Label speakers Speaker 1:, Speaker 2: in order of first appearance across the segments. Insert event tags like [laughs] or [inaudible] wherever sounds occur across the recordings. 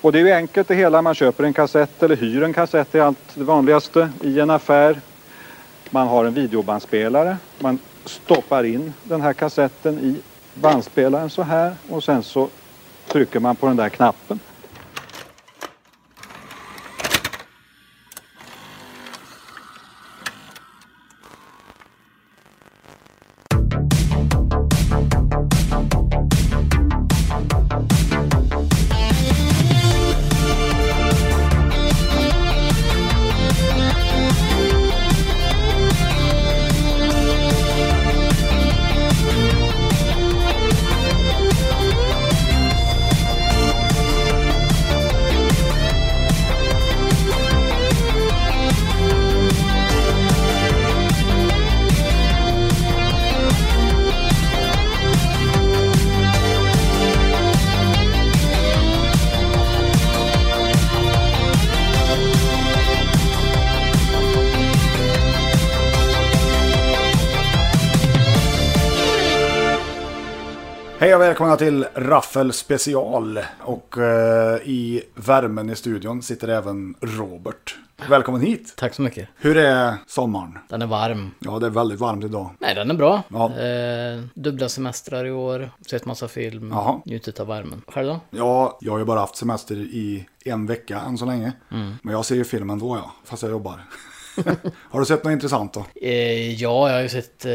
Speaker 1: Och det är ju enkelt det hela. Man köper en kassett eller hyr en kassett, det är allt det vanligaste, i en affär. Man har en videobandspelare. Man stoppar in den här kassetten i bandspelaren så här och sen så trycker man på den där knappen.
Speaker 2: Hej och välkomna till Raffel special. Och eh, i värmen i studion sitter även Robert. Välkommen hit!
Speaker 3: Tack så mycket.
Speaker 2: Hur är sommaren?
Speaker 3: Den är varm.
Speaker 2: Ja, det är väldigt varmt idag.
Speaker 3: Nej, den är bra.
Speaker 2: Ja.
Speaker 3: Eh, dubbla semestrar i år, sett massa film,
Speaker 2: Jaha.
Speaker 3: njutit av värmen. Själv då?
Speaker 2: Ja, jag har ju bara haft semester i en vecka än så länge. Men jag ser ju filmen då ja, fast jag [laughs] jobbar. har du sett något intressant då?
Speaker 3: Eh, ja, jag har ju sett eh,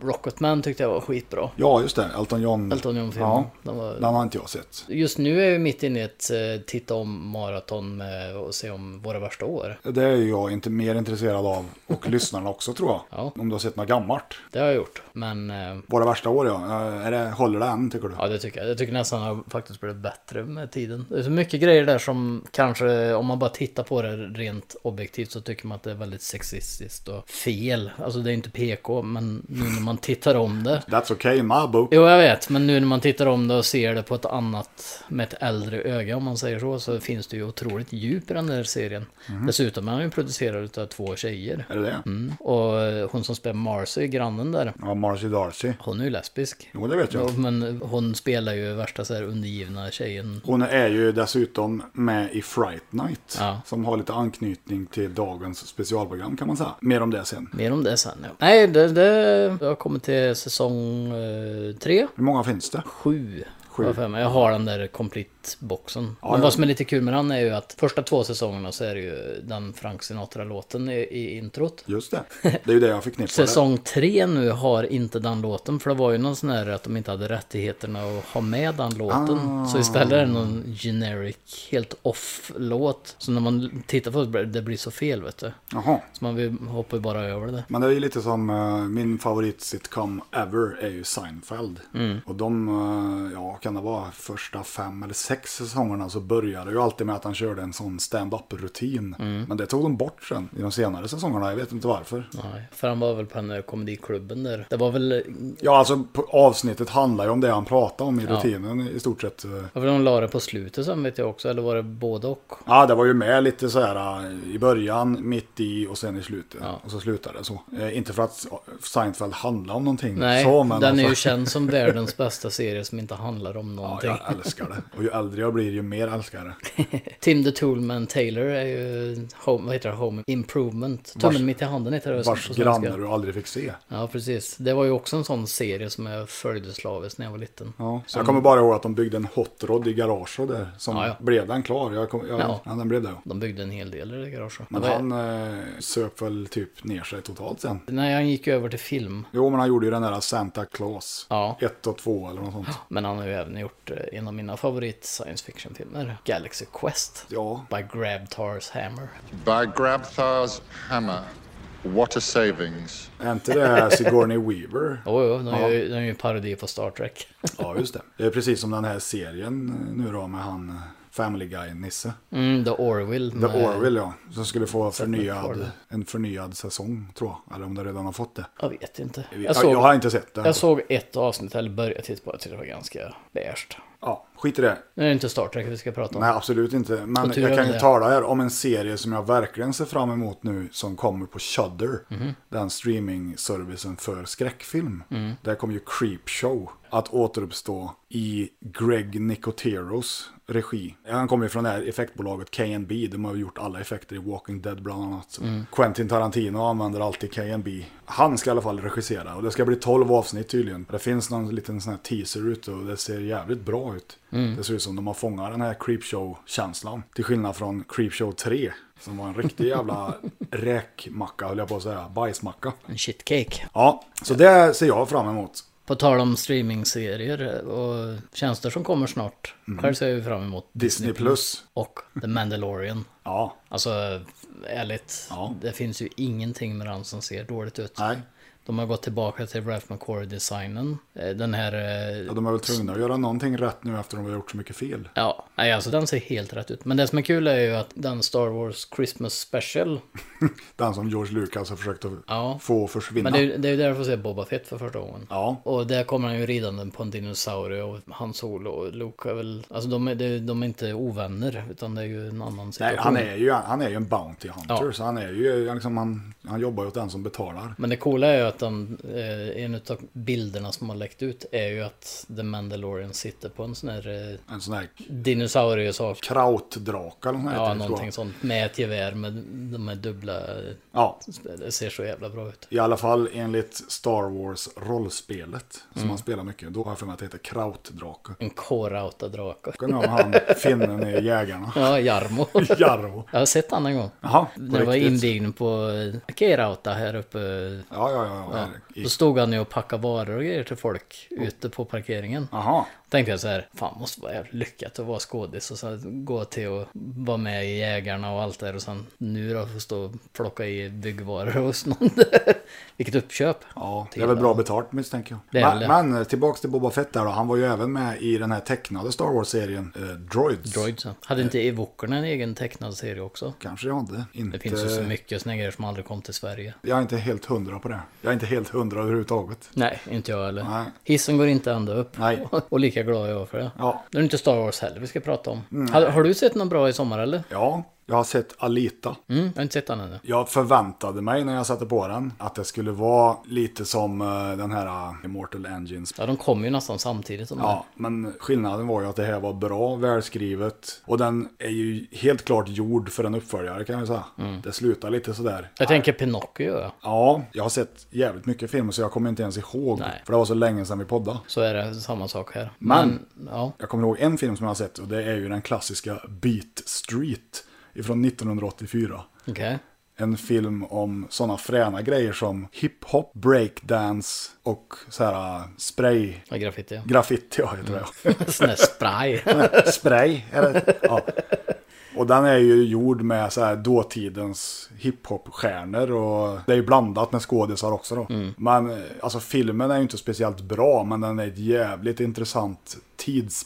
Speaker 3: Rocketman tyckte jag var skitbra.
Speaker 2: Ja, just det. Elton John.
Speaker 3: Elton John-filmen.
Speaker 2: Ja,
Speaker 3: Den var-
Speaker 2: den har inte jag sett.
Speaker 3: Just nu är vi mitt inne i ett eh, titta om maraton med, och se om våra värsta år.
Speaker 2: Det är ju jag inte mer intresserad av. Och [laughs] lyssnarna också tror jag.
Speaker 3: Ja.
Speaker 2: Om du har sett något gammalt.
Speaker 3: Det har jag gjort. Men eh,
Speaker 2: Våra värsta år ja. Eh, Är det, håller det än tycker du?
Speaker 3: ja, det tycker jag. Jag tycker nästan har faktiskt blivit bättre med tiden. Det är så mycket grejer där som kanske, om man bara tittar på det rent objektivt så tycker man att det är väldigt sexistiskt och fel. Alltså det är inte PK, men nu när man tittar om det.
Speaker 2: That's okay in my book.
Speaker 3: Jo, jag vet, men nu när man tittar om det och ser det på ett annat, med ett äldre öga om man säger så, så finns det ju otroligt djup i den där serien. Dessutom är han ju producerad av två tjejer.
Speaker 2: Är det det?
Speaker 3: Mm. Och eh, hon som spelar Marcy, grannen där,
Speaker 2: Ja, Marcy Darcy.
Speaker 3: hon är ju lesbisk.
Speaker 2: Jo, det vet jag.
Speaker 3: Ja, Men hon spelar ju värsta så här undergivna tjejen.
Speaker 2: Hon är ju dessutom med i Fright Night.
Speaker 3: Ja.
Speaker 2: Som har lite anknytning till dagens specialprogram kan man säga. Mer om det sen.
Speaker 3: Mer om det sen. Ja. Nej, det, det jag har kommit till säsong eh, tre.
Speaker 2: Hur många finns det?
Speaker 3: Sju. har jag för mig. Jag har den där Complete-boxen. Men
Speaker 2: ja.
Speaker 3: vad som är lite kul med den är ju att första två säsongerna så är det ju den Frank Sinatra-låten i, i introt.
Speaker 2: Just det. Det är ju det jag förknippar det.
Speaker 3: Säsong tre nu har inte den låten för det var ju någon sån här att de inte hade rättigheterna att ha med den låten. Så istället är det
Speaker 2: Ah.
Speaker 3: någon generic, helt off-låt. Så när man tittar på det, blir- det blir så fel vet du.
Speaker 2: Jaha.
Speaker 3: Så man vill- hoppar ju bara över det.
Speaker 2: Men det är ju lite som eh, min favorit sitcom ever är ju Seinfeld.
Speaker 3: Mm.
Speaker 2: Och de, eh, ja kan det vara första fem eller sex säsongerna så började det ju alltid med att han körde en sån stand-up rutin.
Speaker 3: Mm.
Speaker 2: Men det tog de bort sen i de senare säsongerna, jag vet inte varför.
Speaker 3: Nej, för han var väl på den där komediklubben där. Det var väl,
Speaker 2: Ja alltså på- avsnittet handlar ju om det han pratade om i rutinen i stort sett. eh.
Speaker 3: varför de la det på slutet sen vet jag också, eller var det både och?
Speaker 2: Ja det var ju med lite så här eh, i början, mitt i och sen i slutet.
Speaker 3: Ja.
Speaker 2: Och så slutade det så. Eh, inte för att Seinfeld handlar om någonting.
Speaker 3: Nej,
Speaker 2: så,
Speaker 3: den
Speaker 2: men
Speaker 3: är
Speaker 2: alltså-
Speaker 3: ju känd
Speaker 2: [laughs]
Speaker 3: som världens bästa serie som inte handlar om
Speaker 2: Ja,
Speaker 3: någonting.
Speaker 2: jag älskar det. Och ju äldre jag blir, ju mer älskar jag det.
Speaker 3: Tim the Toolman Taylor är ju home, vad heter det, home improvement.
Speaker 2: Vars-
Speaker 3: Tummen mitt i handen heter det
Speaker 2: Vars
Speaker 3: på
Speaker 2: grannar
Speaker 3: svenska.
Speaker 2: du aldrig fick se.
Speaker 3: Ja, precis. Det var ju också en sån serie som jag följde slaviskt när jag var liten.
Speaker 2: Ja. Så jag kommer bara ihåg att de byggde en hot rod i garaget där. Som
Speaker 3: Mm. Ja, ja.
Speaker 2: blev den klar. Jag kom, jag, ja.
Speaker 3: Ja.
Speaker 2: den blev det. ja.
Speaker 3: De byggde en hel del i det garaget.
Speaker 2: Men
Speaker 3: Det var-
Speaker 2: han eh, söp väl typ ner sig totalt sen.
Speaker 3: Nej, han gick ju över till film.
Speaker 2: Jo, men han gjorde ju den där Santa Claus.
Speaker 3: Ja.
Speaker 2: Ett och två eller något sånt.
Speaker 3: Men han har ju även gjort eh, en av mina favorit science fiction-filmer. Galaxy Quest.
Speaker 2: Ja,
Speaker 3: By Grabtars Hammer.
Speaker 4: By Grabthar's hammer, what a savings.
Speaker 2: är inte det
Speaker 3: [laughs]
Speaker 2: Sigourney Weaver?
Speaker 3: Jo, jo, den är ju- den är ju en parodi på Star Trek.
Speaker 2: Ja, just det. Det är precis som den här serien eh, nu då med han eh, Family Guy-Nisse.
Speaker 3: Mm, The Orville.
Speaker 2: The
Speaker 3: med-
Speaker 2: Orville ja, som skulle få förnyad,
Speaker 3: MacFarlane.
Speaker 2: en förnyad säsong tror jag. Eller om det redan har fått det.
Speaker 3: Jag vet inte.
Speaker 2: Jag,
Speaker 3: Jag såg,
Speaker 2: jag har inte sett det.
Speaker 3: jag såg ett avsnitt, eller började titta på det, jag tyckte det var ganska beige.
Speaker 2: Ja, skit i det.
Speaker 3: Nu är det inte Star Trek vi ska prata om.
Speaker 2: Nej, absolut inte. Men
Speaker 3: Och tur
Speaker 2: jag
Speaker 3: är
Speaker 2: kan ju
Speaker 3: det.
Speaker 2: tala här om en serie som jag verkligen ser fram emot nu som kommer på Shudder. Den streaming-servicen för skräckfilm. Där kommer ju Creepshow att återuppstå i Greg Nicoteros regi. Han kommer ju från det här effektbolaget KNB. De har ju gjort alla effekter i Walking Dead bland annat. Quentin Tarantino använder alltid KNB. Han ska i alla fall regissera och det ska bli 12 avsnitt tydligen. Det finns någon liten sån här teaser ute och det ser jävligt bra ut.
Speaker 3: Mm.
Speaker 2: Det ser ut som de har fångat den här Creepshow-känslan. Till skillnad från Creepshow 3. Som var en riktig jävla
Speaker 3: [laughs]
Speaker 2: räkmacka, höll jag på att säga. Bajsmacka.
Speaker 3: En shitcake.
Speaker 2: Ja, så det ser jag fram emot.
Speaker 3: På tal om streamingserier och tjänster som kommer snart.
Speaker 2: Mm.
Speaker 3: Själv ser jag ju fram emot
Speaker 2: Disney Plus.
Speaker 3: och The Mandalorian.
Speaker 2: Ja,
Speaker 3: Alltså, ärligt.
Speaker 2: Ja.
Speaker 3: Det finns ju ingenting med den som ser dåligt ut.
Speaker 2: nej.
Speaker 3: De har gått tillbaka till Ralph McCory-designen. Eh, Den här... eh,
Speaker 2: Ja, de är väl tvungna att göra någonting rätt nu efter att de har gjort så mycket fel.
Speaker 3: Ja, nej, alltså den ser helt rätt ut. Men det som är kul är ju att den Star Wars Christmas Special.
Speaker 2: Den som George Lucas har försökt att
Speaker 3: Ja.
Speaker 2: få försvinna.
Speaker 3: Men det är, ju- det är ju där jag får se Boba Fett för första gången.
Speaker 2: Ja,
Speaker 3: Och där kommer han ju ridande på en dinosaurie och Han Solo och Luke är väl... Alltså de är, det är- de är inte ovänner utan det är ju en annan situation.
Speaker 2: Nej, han, är ju, han är ju en Bounty Hunter,
Speaker 3: Ja.
Speaker 2: så han, är ju, liksom, han, han jobbar ju åt den som betalar.
Speaker 3: Men det coola är ju att den, eh, en av bilderna som har läckt ut är ju att The Mandalorian sitter på en sån här eh,
Speaker 2: En sån här
Speaker 3: dinosaurie-sak.
Speaker 2: krautdrake eller något
Speaker 3: Ja,
Speaker 2: heter det, tror
Speaker 3: någonting
Speaker 2: jag.
Speaker 3: sånt. Med ett gevär med de här dubbla...
Speaker 2: Ja,
Speaker 3: Det ser så jävla bra ut.
Speaker 2: i alla fall enligt Star Wars rollspelet som
Speaker 3: Mm.
Speaker 2: han spelar mycket. Då har jag för mig att det heter krautdrake.
Speaker 3: En kårauta drake.
Speaker 2: Kommer du ihåg han finnen i Jägarna? [laughs]
Speaker 3: Ja, Jarmo.
Speaker 2: Jarro.
Speaker 3: Jag har sett han en gång.
Speaker 2: Jaha,
Speaker 3: När
Speaker 2: på
Speaker 3: jag var
Speaker 2: riktigt.
Speaker 3: invigd på eh, Keirauta här uppe.
Speaker 2: Ja, ja, ja. ja.
Speaker 3: Då
Speaker 2: I-
Speaker 3: stod han ju och packade varor och grejer till folk ute på parkeringen.
Speaker 2: Jaha,
Speaker 3: Tänkte jag så här, fan måste vara jävligt lyckat att vara skådis och sen gå till och vara med i Jägarna och allt där och sen nu då få stå och plocka i byggvaror hos någon. [laughs] Vilket uppköp.
Speaker 2: ja, det är väl bra betalt misstänker
Speaker 3: Det
Speaker 2: jag.
Speaker 3: är väl det.
Speaker 2: Men, men tillbaka till Boba Fett där då. Han var ju även med i den här tecknade Star Wars-serien eh, Droids.
Speaker 3: Droids. ja. Hade inte Evokerna en egen tecknad serie också?
Speaker 2: Kanske jag inte. inte.
Speaker 3: Det finns ju så mycket såna grejer som aldrig kom till Sverige.
Speaker 2: Jag är inte helt hundra på det. Jag är inte helt hundra överhuvudtaget.
Speaker 3: Nej, inte jag heller.
Speaker 2: Nej.
Speaker 3: Hissen går inte ända upp.
Speaker 2: Nej.
Speaker 3: [laughs] Och lika glad är jag för det.
Speaker 2: Ja.
Speaker 3: Det är inte Star Wars heller vi ska prata om. Har, har du sett något bra i sommar eller?
Speaker 2: Ja, jag har sett Alita.
Speaker 3: Mm, jag har inte sett den ännu.
Speaker 2: Jag förväntade mig när jag satte på den att det skulle vara lite som eh, den här eh, Immortal Engines.
Speaker 3: Ja, de kom ju nästan samtidigt som
Speaker 2: Ja, men skillnaden var ju att det här var bra, välskrivet. Och den är ju helt klart gjord för en uppföljare kan jag säga.
Speaker 3: Mm.
Speaker 2: Det slutar lite sådär.
Speaker 3: Jag tänker Pinocchio, ja.
Speaker 2: Ja, jag har sett jävligt mycket filmer så jag kommer inte ens ihåg.
Speaker 3: Nej.
Speaker 2: För det var så länge sedan vi poddade.
Speaker 3: Så är det samma sak här.
Speaker 2: Men-
Speaker 3: ja.
Speaker 2: Jag kommer ihåg en film som jag har sett och det är ju den klassiska Beat Street ifrån 1984.
Speaker 3: Okej.
Speaker 2: En film om sådana fräna grejer som hiphop, breakdance och så här äh, spray.
Speaker 3: Ja, graffiti. ja.
Speaker 2: Graffiti, ja, heter det.
Speaker 3: [laughs] Sån där spray.
Speaker 2: Mm. [laughs] spray, är det? Ja. Och den är ju gjord med så här dåtidens hiphop-stjärnor och det är ju blandat med skådisar också då. Men eh, alltså filmen är ju inte speciellt bra men den är ett jävligt intressant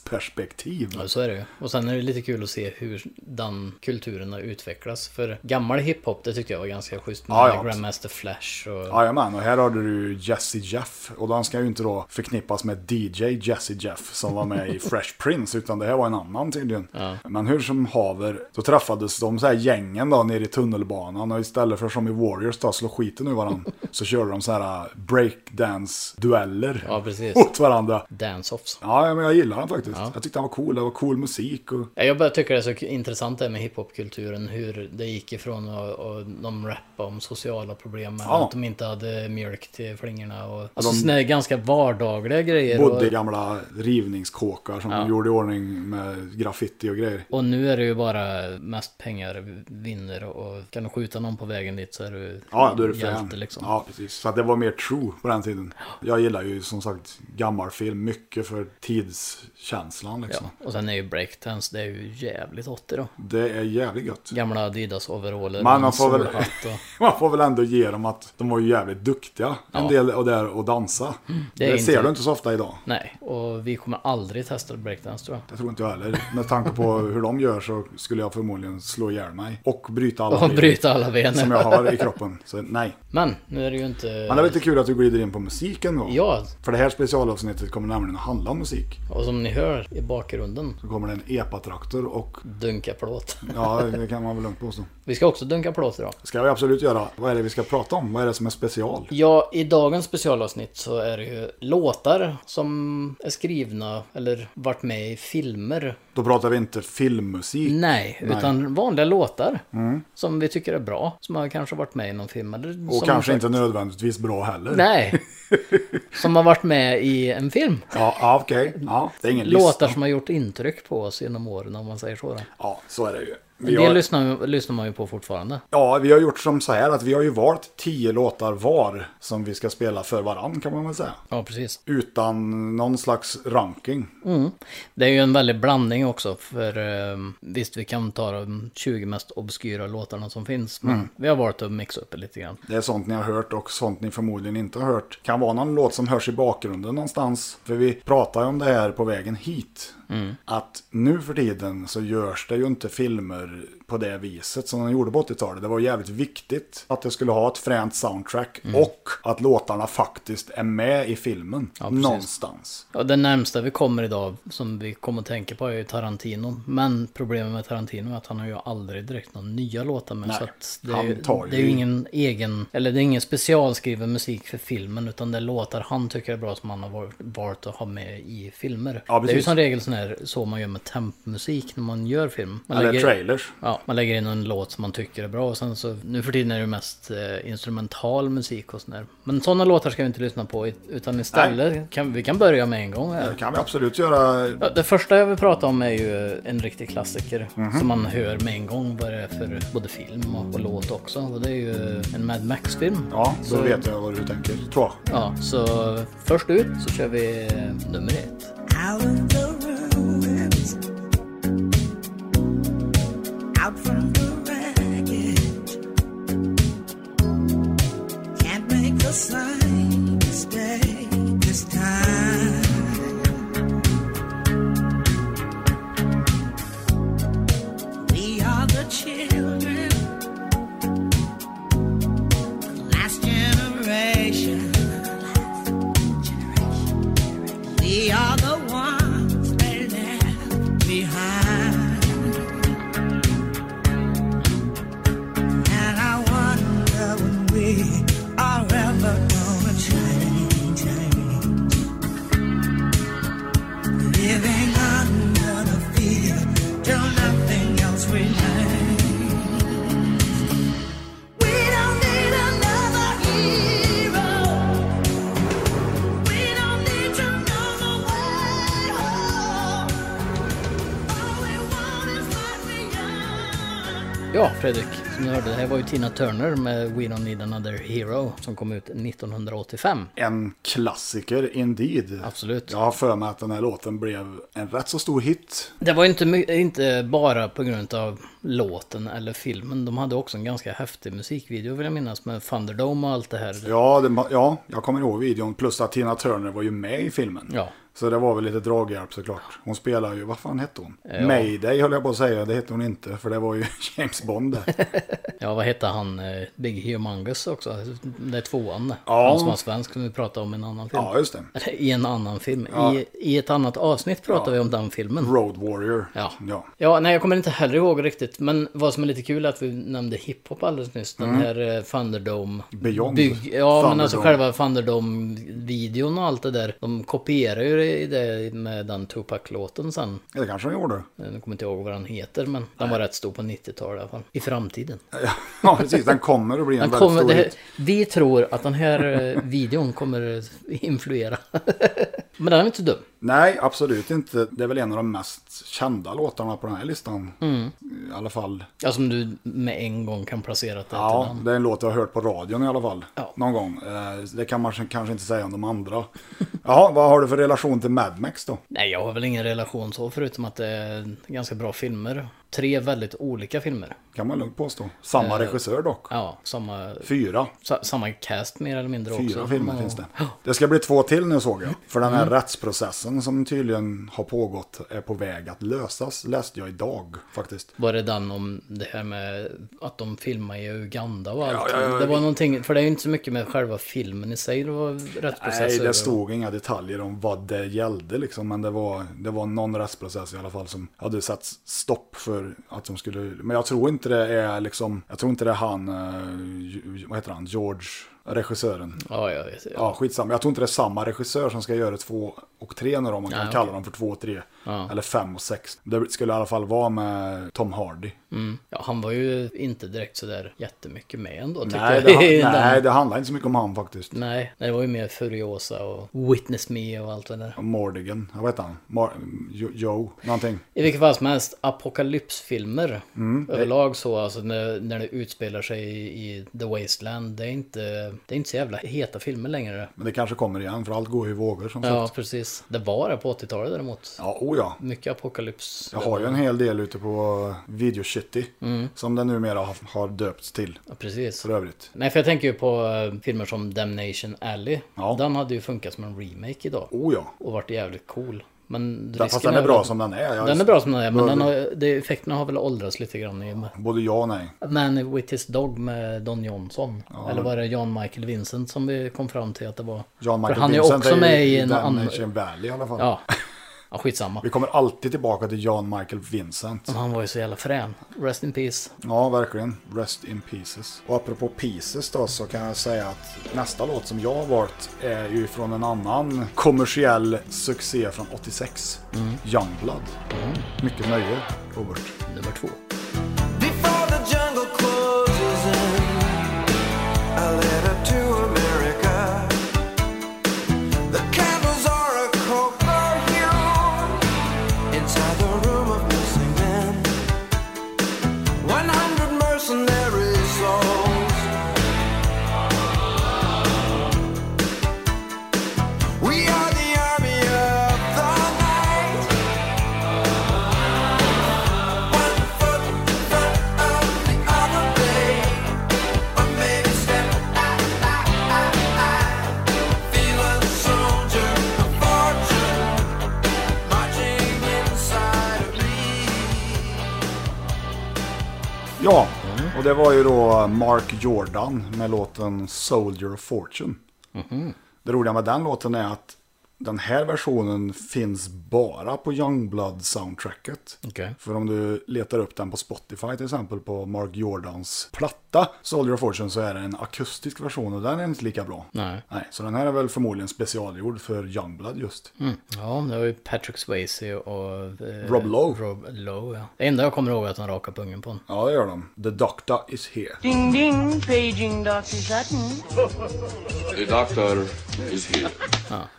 Speaker 2: tidsperspektiv.
Speaker 3: Ja, så är det ju. Och sen är det lite kul att se hur den kulturen har utvecklats. För gammal hiphop, det tyckte jag var ganska schysst. Med
Speaker 2: Ja, ja.
Speaker 3: Grandmaster Flash och...
Speaker 2: Jajamän, och här har du Jesse Jeff. Och han ska ju inte då förknippas med DJ Jesse Jeff som var
Speaker 3: [laughs]
Speaker 2: med i Fresh Prince, utan det här var en annan tydligen. Men hur som haver, då träffades de så här gängen då nere i tunnelbanan och istället för som i Warriors då, slå skiten ur
Speaker 3: [laughs]
Speaker 2: varandra, så körde de så här äh, breakdance-dueller
Speaker 3: Ja, precis.
Speaker 2: mot varandra.
Speaker 3: Dance-offs.
Speaker 2: Ja, ja, men jag gillar den faktiskt. Jag tyckte han var cool, det var cool musik och...
Speaker 3: Ja, Jag bara tycker det är så k- intressant det här med hiphopkulturen, hur det gick ifrån att och de rappa om sociala problem, men
Speaker 2: Ja.
Speaker 3: att de inte hade mjölk till flingorna och alltså, såna här ganska vardagliga grejer.
Speaker 2: Bodde i
Speaker 3: Och,
Speaker 2: gamla rivningskåkar som de gjorde i ordning med graffiti och grejer.
Speaker 3: och nu är det ju bara mest pengar vinner och kan du skjuta någon på vägen dit så är du
Speaker 2: Ja, då är det
Speaker 3: hjälte
Speaker 2: fan.
Speaker 3: liksom.
Speaker 2: Ja, precis. Så att det var mer true på den tiden. Jag gillar ju som sagt gammal film mycket för tidskänslan liksom.
Speaker 3: Ja. Och sen är ju breakdance, det är ju jävligt 80 då.
Speaker 2: Det är jävligt gött.
Speaker 3: Gamla Adidas-overaller
Speaker 2: Man,
Speaker 3: med
Speaker 2: man får väl-
Speaker 3: solhatt och...
Speaker 2: Man får väl ändå ge dem att de var ju jävligt duktiga. En del och där och dansa.
Speaker 3: Mm, det
Speaker 2: Det,
Speaker 3: är inte-
Speaker 2: ser du inte så ofta idag.
Speaker 3: Nej, och vi kommer aldrig testa breakdance tror jag.
Speaker 2: Det tror inte jag heller. Med tanke på hur de gör så skulle jag förmodligen slå ihjäl mig. Och bryta alla
Speaker 3: Och
Speaker 2: ben
Speaker 3: bryta alla
Speaker 2: som
Speaker 3: ben.
Speaker 2: jag har i kroppen. Så nej.
Speaker 3: Men nu är det ju inte...
Speaker 2: Men det är lite kul att du glider in på musiken då.
Speaker 3: Ja,
Speaker 2: För det här specialavsnittet kommer nämligen att handla om musik.
Speaker 3: Och Och som ni hör i bakgrunden,
Speaker 2: Så kommer det en epatraktor och
Speaker 3: dunka plåt.
Speaker 2: ja, det kan man väl lugnt påstå.
Speaker 3: Vi ska också dunka plåt idag.
Speaker 2: Ska vi absolut göra. Vad är det vi ska prata om? Vad är det som är special?
Speaker 3: Ja, i dagens specialavsnitt så är det ju låtar som är skrivna eller varit med i filmer.
Speaker 2: Då pratar vi inte filmmusik.
Speaker 3: Nej, utan vanliga låtar som vi tycker är bra. Som har kanske varit med i någon film. Eller
Speaker 2: Mm. Och
Speaker 3: som
Speaker 2: kanske
Speaker 3: har-
Speaker 2: inte nödvändigtvis bra heller. [laughs]
Speaker 3: Nej, som har varit med i en film.
Speaker 2: Ja, ja okej. Ja, det är ingen lista.
Speaker 3: Låtar som har gjort intryck på oss genom åren om man säger så. Då.
Speaker 2: Ja, så är det ju. Vi
Speaker 3: Det
Speaker 2: har,
Speaker 3: lyssnar, lyssnar man ju på fortfarande.
Speaker 2: ja, vi har gjort som så här att vi har ju valt tio låtar var som vi ska spela för varann kan man väl säga.
Speaker 3: Ja, precis.
Speaker 2: Utan någon slags ranking.
Speaker 3: Det är ju en väldig blandning också. För eh, visst, vi kan ta de 20 mest obskyra låtarna som finns. Men
Speaker 2: Mm.
Speaker 3: vi har valt att mixa upp det lite grann.
Speaker 2: Det är sånt ni har hört och sånt ni förmodligen inte har hört. Kan vara någon låt som hörs i bakgrunden någonstans. För vi pratade ju om det här på vägen hit.
Speaker 3: Mm.
Speaker 2: Att nu för tiden så görs det ju inte filmer på det viset som de gjorde på 80-talet. Det var jävligt viktigt att det skulle ha ett fränt soundtrack
Speaker 3: Mm.
Speaker 2: och att låtarna faktiskt är med i filmen.
Speaker 3: precis.
Speaker 2: någonstans.
Speaker 3: Ja, det närmsta vi kommer idag som vi kommer att tänka på är ju Tarantino. Men problemet med Tarantino är att han har ju aldrig direkt några nya låtar med.
Speaker 2: Nej,
Speaker 3: så att det är,
Speaker 2: han
Speaker 3: ju,
Speaker 2: tar ju
Speaker 3: det är ju
Speaker 2: i.
Speaker 3: ingen egen, eller det är ingen specialskriven musik för filmen. Utan det är låtar han tycker är bra som han har var- valt att ha med i filmer.
Speaker 2: Ja,
Speaker 3: det är ju
Speaker 2: precis.
Speaker 3: som regel sån här, så man gör med tempmusik när man gör film. Man
Speaker 2: Eller
Speaker 3: lägger-
Speaker 2: trailers.
Speaker 3: Ja, man lägger in en låt som man tycker är bra och sen så nu för tiden är det mest eh, instrumental musik och sånt där. Men sådana låtar ska vi inte lyssna på i- utan istället kan vi kan börja med en gång
Speaker 2: Det
Speaker 3: här.
Speaker 2: kan vi absolut göra.
Speaker 3: Ja, det första jag vill prata om är ju eh, en riktig klassiker
Speaker 2: Mhm.
Speaker 3: som man hör med en gång vad det är för både film och, och låt också. Och det är ju eh, en Mad Max-film.
Speaker 2: Ja, då
Speaker 3: Så-
Speaker 2: vet jag vad du tänker. Tror jag.
Speaker 3: Ja, så först ut så kör vi eh, nummer ett.
Speaker 5: Out of the ruins, out from the wreckage. Can't make the same mistake this time. We are the children, last generation. We are the ones they left behind. And I wonder when we are ever gonna change. Living under the fear till nothing else remains. We don't need another hero. We don't need to know the way home. All we want is life beyond.
Speaker 3: Ja, Fredrik, som du hörde, det här var ju Tina Turner med We Don't Need Another Hero som kom ut 1985.
Speaker 2: En klassiker indeed.
Speaker 3: Absolut.
Speaker 2: Jag har för mig att den här låten blev en rätt så stor hit.
Speaker 3: Det var ju inte, my- inte bara på grund av låten eller filmen. De hade också en ganska häftig musikvideo vill jag minnas med Thunderdome och allt det här.
Speaker 2: Ja, det, ja, jag kommer ihåg videon. Plus att Tina Turner var ju med i filmen.
Speaker 3: Ja.
Speaker 2: Så det var väl lite draghjälp såklart. Hon spelar ju, vad fan hette hon?
Speaker 3: Eh,
Speaker 2: Mayday höll jag på att säga, det hette hon inte. För det var ju [laughs] James Bond där.
Speaker 3: [laughs] Ja, vad hette han? eh, Big Humongous också. Det är tvåan.
Speaker 2: Ja.
Speaker 3: Han som var svensk som vi pratade om i en annan film.
Speaker 2: Ja, just det.
Speaker 3: Eller i en annan film. I, I ett annat avsnitt pratade vi om den filmen.
Speaker 2: Road Warrior.
Speaker 3: Ja.
Speaker 2: ja.
Speaker 3: Ja, nej jag kommer inte heller ihåg riktigt. Men vad som är lite kul är att vi nämnde hiphop alldeles nyss. Den
Speaker 2: Mm.
Speaker 3: här eh, Thunderdome.
Speaker 2: Beyond.
Speaker 3: Bygg, ja, men alltså själva Thunderdome-videon och allt det där. De kopierar ju det- det med den Tupac-låten sen.
Speaker 2: Det kanske hon gjorde. [laughs]
Speaker 3: Jag kommer inte ihåg vad den heter, men den var rätt stor på 90-talet i alla fall. I framtiden.
Speaker 2: Ja, precis. Den kommer att bli en
Speaker 3: Den
Speaker 2: väldigt
Speaker 3: kommer,
Speaker 2: stor
Speaker 3: det,
Speaker 2: hit.
Speaker 3: vi tror att den här eh, videon kommer influera. [laughs] men den är inte dum.
Speaker 2: Nej, absolut inte. Det är väl en av de mest kända låtarna på den här listan.
Speaker 3: Mm.
Speaker 2: I alla fall
Speaker 3: Ja, som Alltså, du med en gång kan placera det till
Speaker 2: Ja,
Speaker 3: den.
Speaker 2: det är en låt jag har hört på radion i alla fall.
Speaker 3: Ja.
Speaker 2: Någon gång. Eh, Det kan man kanske inte säga om de andra. [laughs] Jaha, vad har du för relation till Mad Max då?
Speaker 3: Nej, jag har väl ingen relation så, förutom att det är ganska bra filmer. Tre väldigt olika filmer.
Speaker 2: Kan man lugnt påstå. Samma regissör dock.
Speaker 3: Eh, Ja, samma,
Speaker 2: Fyra.
Speaker 3: sa- samma cast mer eller mindre också.
Speaker 2: Fyra filmer
Speaker 3: Ja. Mm.
Speaker 2: finns det. Det ska bli två till nu såg jag. För den här rättsprocessen Mytföreläsaren som tydligen har pågått är på väg att lösas, läste jag idag faktiskt.
Speaker 3: Var det den om det här med att de filmar i Uganda och allt?
Speaker 2: ja, ja,
Speaker 3: det var
Speaker 2: vi-
Speaker 3: någonting, för det är ju inte så mycket med själva filmen i sig, det var rättsprocesser.
Speaker 2: Nej, det
Speaker 3: och-
Speaker 2: stod inga detaljer om vad det gällde liksom, men det var, det var någon rättsprocess i alla fall som hade satt stopp för att de skulle, men jag tror inte det är liksom, jag tror inte det är han, eh, ju- vad heter han, George, regissören.
Speaker 3: Ja, jag vet. Ja.
Speaker 2: Ja, skitsamma. Jag tror inte det är samma regissör som ska göra två och tre nu då, om man kan
Speaker 3: okej.
Speaker 2: kalla dem för två och tre. Eller fem och sex. Det skulle i alla fall vara med Tom Hardy.
Speaker 3: Mm. ja, han var ju inte direkt sådär jättemycket med ändå, tyckte
Speaker 2: Nej,
Speaker 3: jag.
Speaker 2: det,
Speaker 3: [laughs] i
Speaker 2: han-
Speaker 3: den.
Speaker 2: nej, det handlar inte så mycket om han faktiskt.
Speaker 3: Nej, det var ju mer Furiosa och Witness Me och allt det där.
Speaker 2: Mordigan, jag vet han. Mar- jo, jo, någonting.
Speaker 3: I vilket fall som helst, apokalypsfilmer
Speaker 2: Mm,
Speaker 3: överlag så, alltså när, när det utspelar sig i, i The Wasteland, det är, inte, det är inte så jävla heta filmer längre.
Speaker 2: Men det kanske kommer igen, för allt går ju i vågor som
Speaker 3: Ja,
Speaker 2: sagt.
Speaker 3: precis. Det var det på 80-talet däremot.
Speaker 2: Ja, oh ja.
Speaker 3: Mycket apokalyps.
Speaker 2: Jag har ju en hel del ute på Video City,
Speaker 3: Mm.
Speaker 2: som den numera har- har döpts till,
Speaker 3: Ja, precis.
Speaker 2: för övrigt.
Speaker 3: Nej, för jag tänker ju på eh, filmer som Damnation Alley.
Speaker 2: Ja.
Speaker 3: Den hade ju funkat som en remake idag.
Speaker 2: Oh ja.
Speaker 3: Och varit jävligt cool. Men
Speaker 2: Den, fast den är bra som den är. Jag-
Speaker 3: Den är bra som den är, men
Speaker 2: Bör-
Speaker 3: den har, det, effekterna har väl åldrats lite grann i och med.
Speaker 2: Både ja och nej.
Speaker 3: Man with his dog med Don Johnson. Eller var det John Michael Vincent som vi kom fram till att det var?
Speaker 2: John Michael
Speaker 3: För han är
Speaker 2: Vincent
Speaker 3: också med i en annan...
Speaker 2: Damnation Valley i alla fall.
Speaker 3: Ja. ja, skitsamma.
Speaker 2: Vi kommer alltid tillbaka till John Michael Vincent.
Speaker 3: Men Han var ju så jävla frän. Rest in peace.
Speaker 2: Ja, verkligen. Rest in pieces. Och apropå pieces då så kan jag säga att nästa låt som jag har valt är ju från en annan kommersiell succé från 86.
Speaker 3: Mm.
Speaker 2: Youngblood. Mycket nöje, Robert.
Speaker 3: Nummer två.
Speaker 6: Before the jungle closes in, a letter to America. The candles are a cold perfume inside the room of missing men. One hundred mercenary souls. We are the army of the night. One foot in front of the other, Or maybe step Feeling soldier of fortune marching inside of me.
Speaker 2: Ja,
Speaker 3: Mm.
Speaker 2: och det var ju då Mark Jordan med låten Soldier of Fortune.
Speaker 3: Mm-hmm.
Speaker 2: Det roliga med den låten är att den här versionen finns bara på Youngblood-soundtracket.
Speaker 3: Okej.
Speaker 2: För om du letar upp den på Spotify till exempel på Mark Jordans platta Soldier of Fortune så är det en akustisk version och den är inte lika bra.
Speaker 3: Nej.
Speaker 2: Nej, så den här är väl förmodligen specialgjord för Youngblood just.
Speaker 3: Ja, det var ju Patrick Swayze och... eh,
Speaker 2: Rob Lowe.
Speaker 3: Rob Lowe, ja. Det enda jag kommer ihåg är att han rakade pungen på honom.
Speaker 2: Ja, det gör de. The Doctor is here.
Speaker 7: Ding ding, paging Dr. Sutton.
Speaker 8: The doctor is here.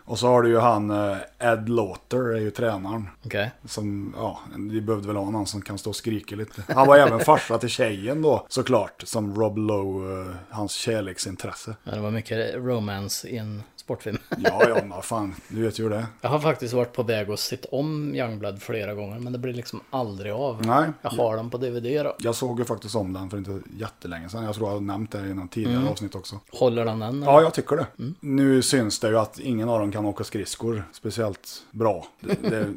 Speaker 2: Och så har du ju han eh, Ed Lauter, är ju tränaren.
Speaker 3: Okej.
Speaker 2: Som, ja, vi behövde väl ha någon som kan stå och skrika lite. Han var även farsa till tjejen då, såklart. Som Rob Lowe, eh, hans kärleksintresse.
Speaker 3: Ja, det var mycket romance i en sportfilm. [laughs]
Speaker 2: Ja, ja, men vad fan, du vet ju hur det är.
Speaker 3: Jag har faktiskt varit på väg att sitta om Youngblood flera gånger, men det blir liksom aldrig av.
Speaker 2: Nej.
Speaker 3: Jag har den på DVD då.
Speaker 2: Jag såg ju faktiskt om den för inte jättelänge sedan. Jag tror jag har nämnt det i någon tidigare
Speaker 3: Mm.
Speaker 2: avsnitt också.
Speaker 3: Håller den än?
Speaker 2: Ja, jag tycker det.
Speaker 3: Mm.
Speaker 2: Nu syns det ju att ingen av dem kan åka skridskor speciellt bra. Det, det...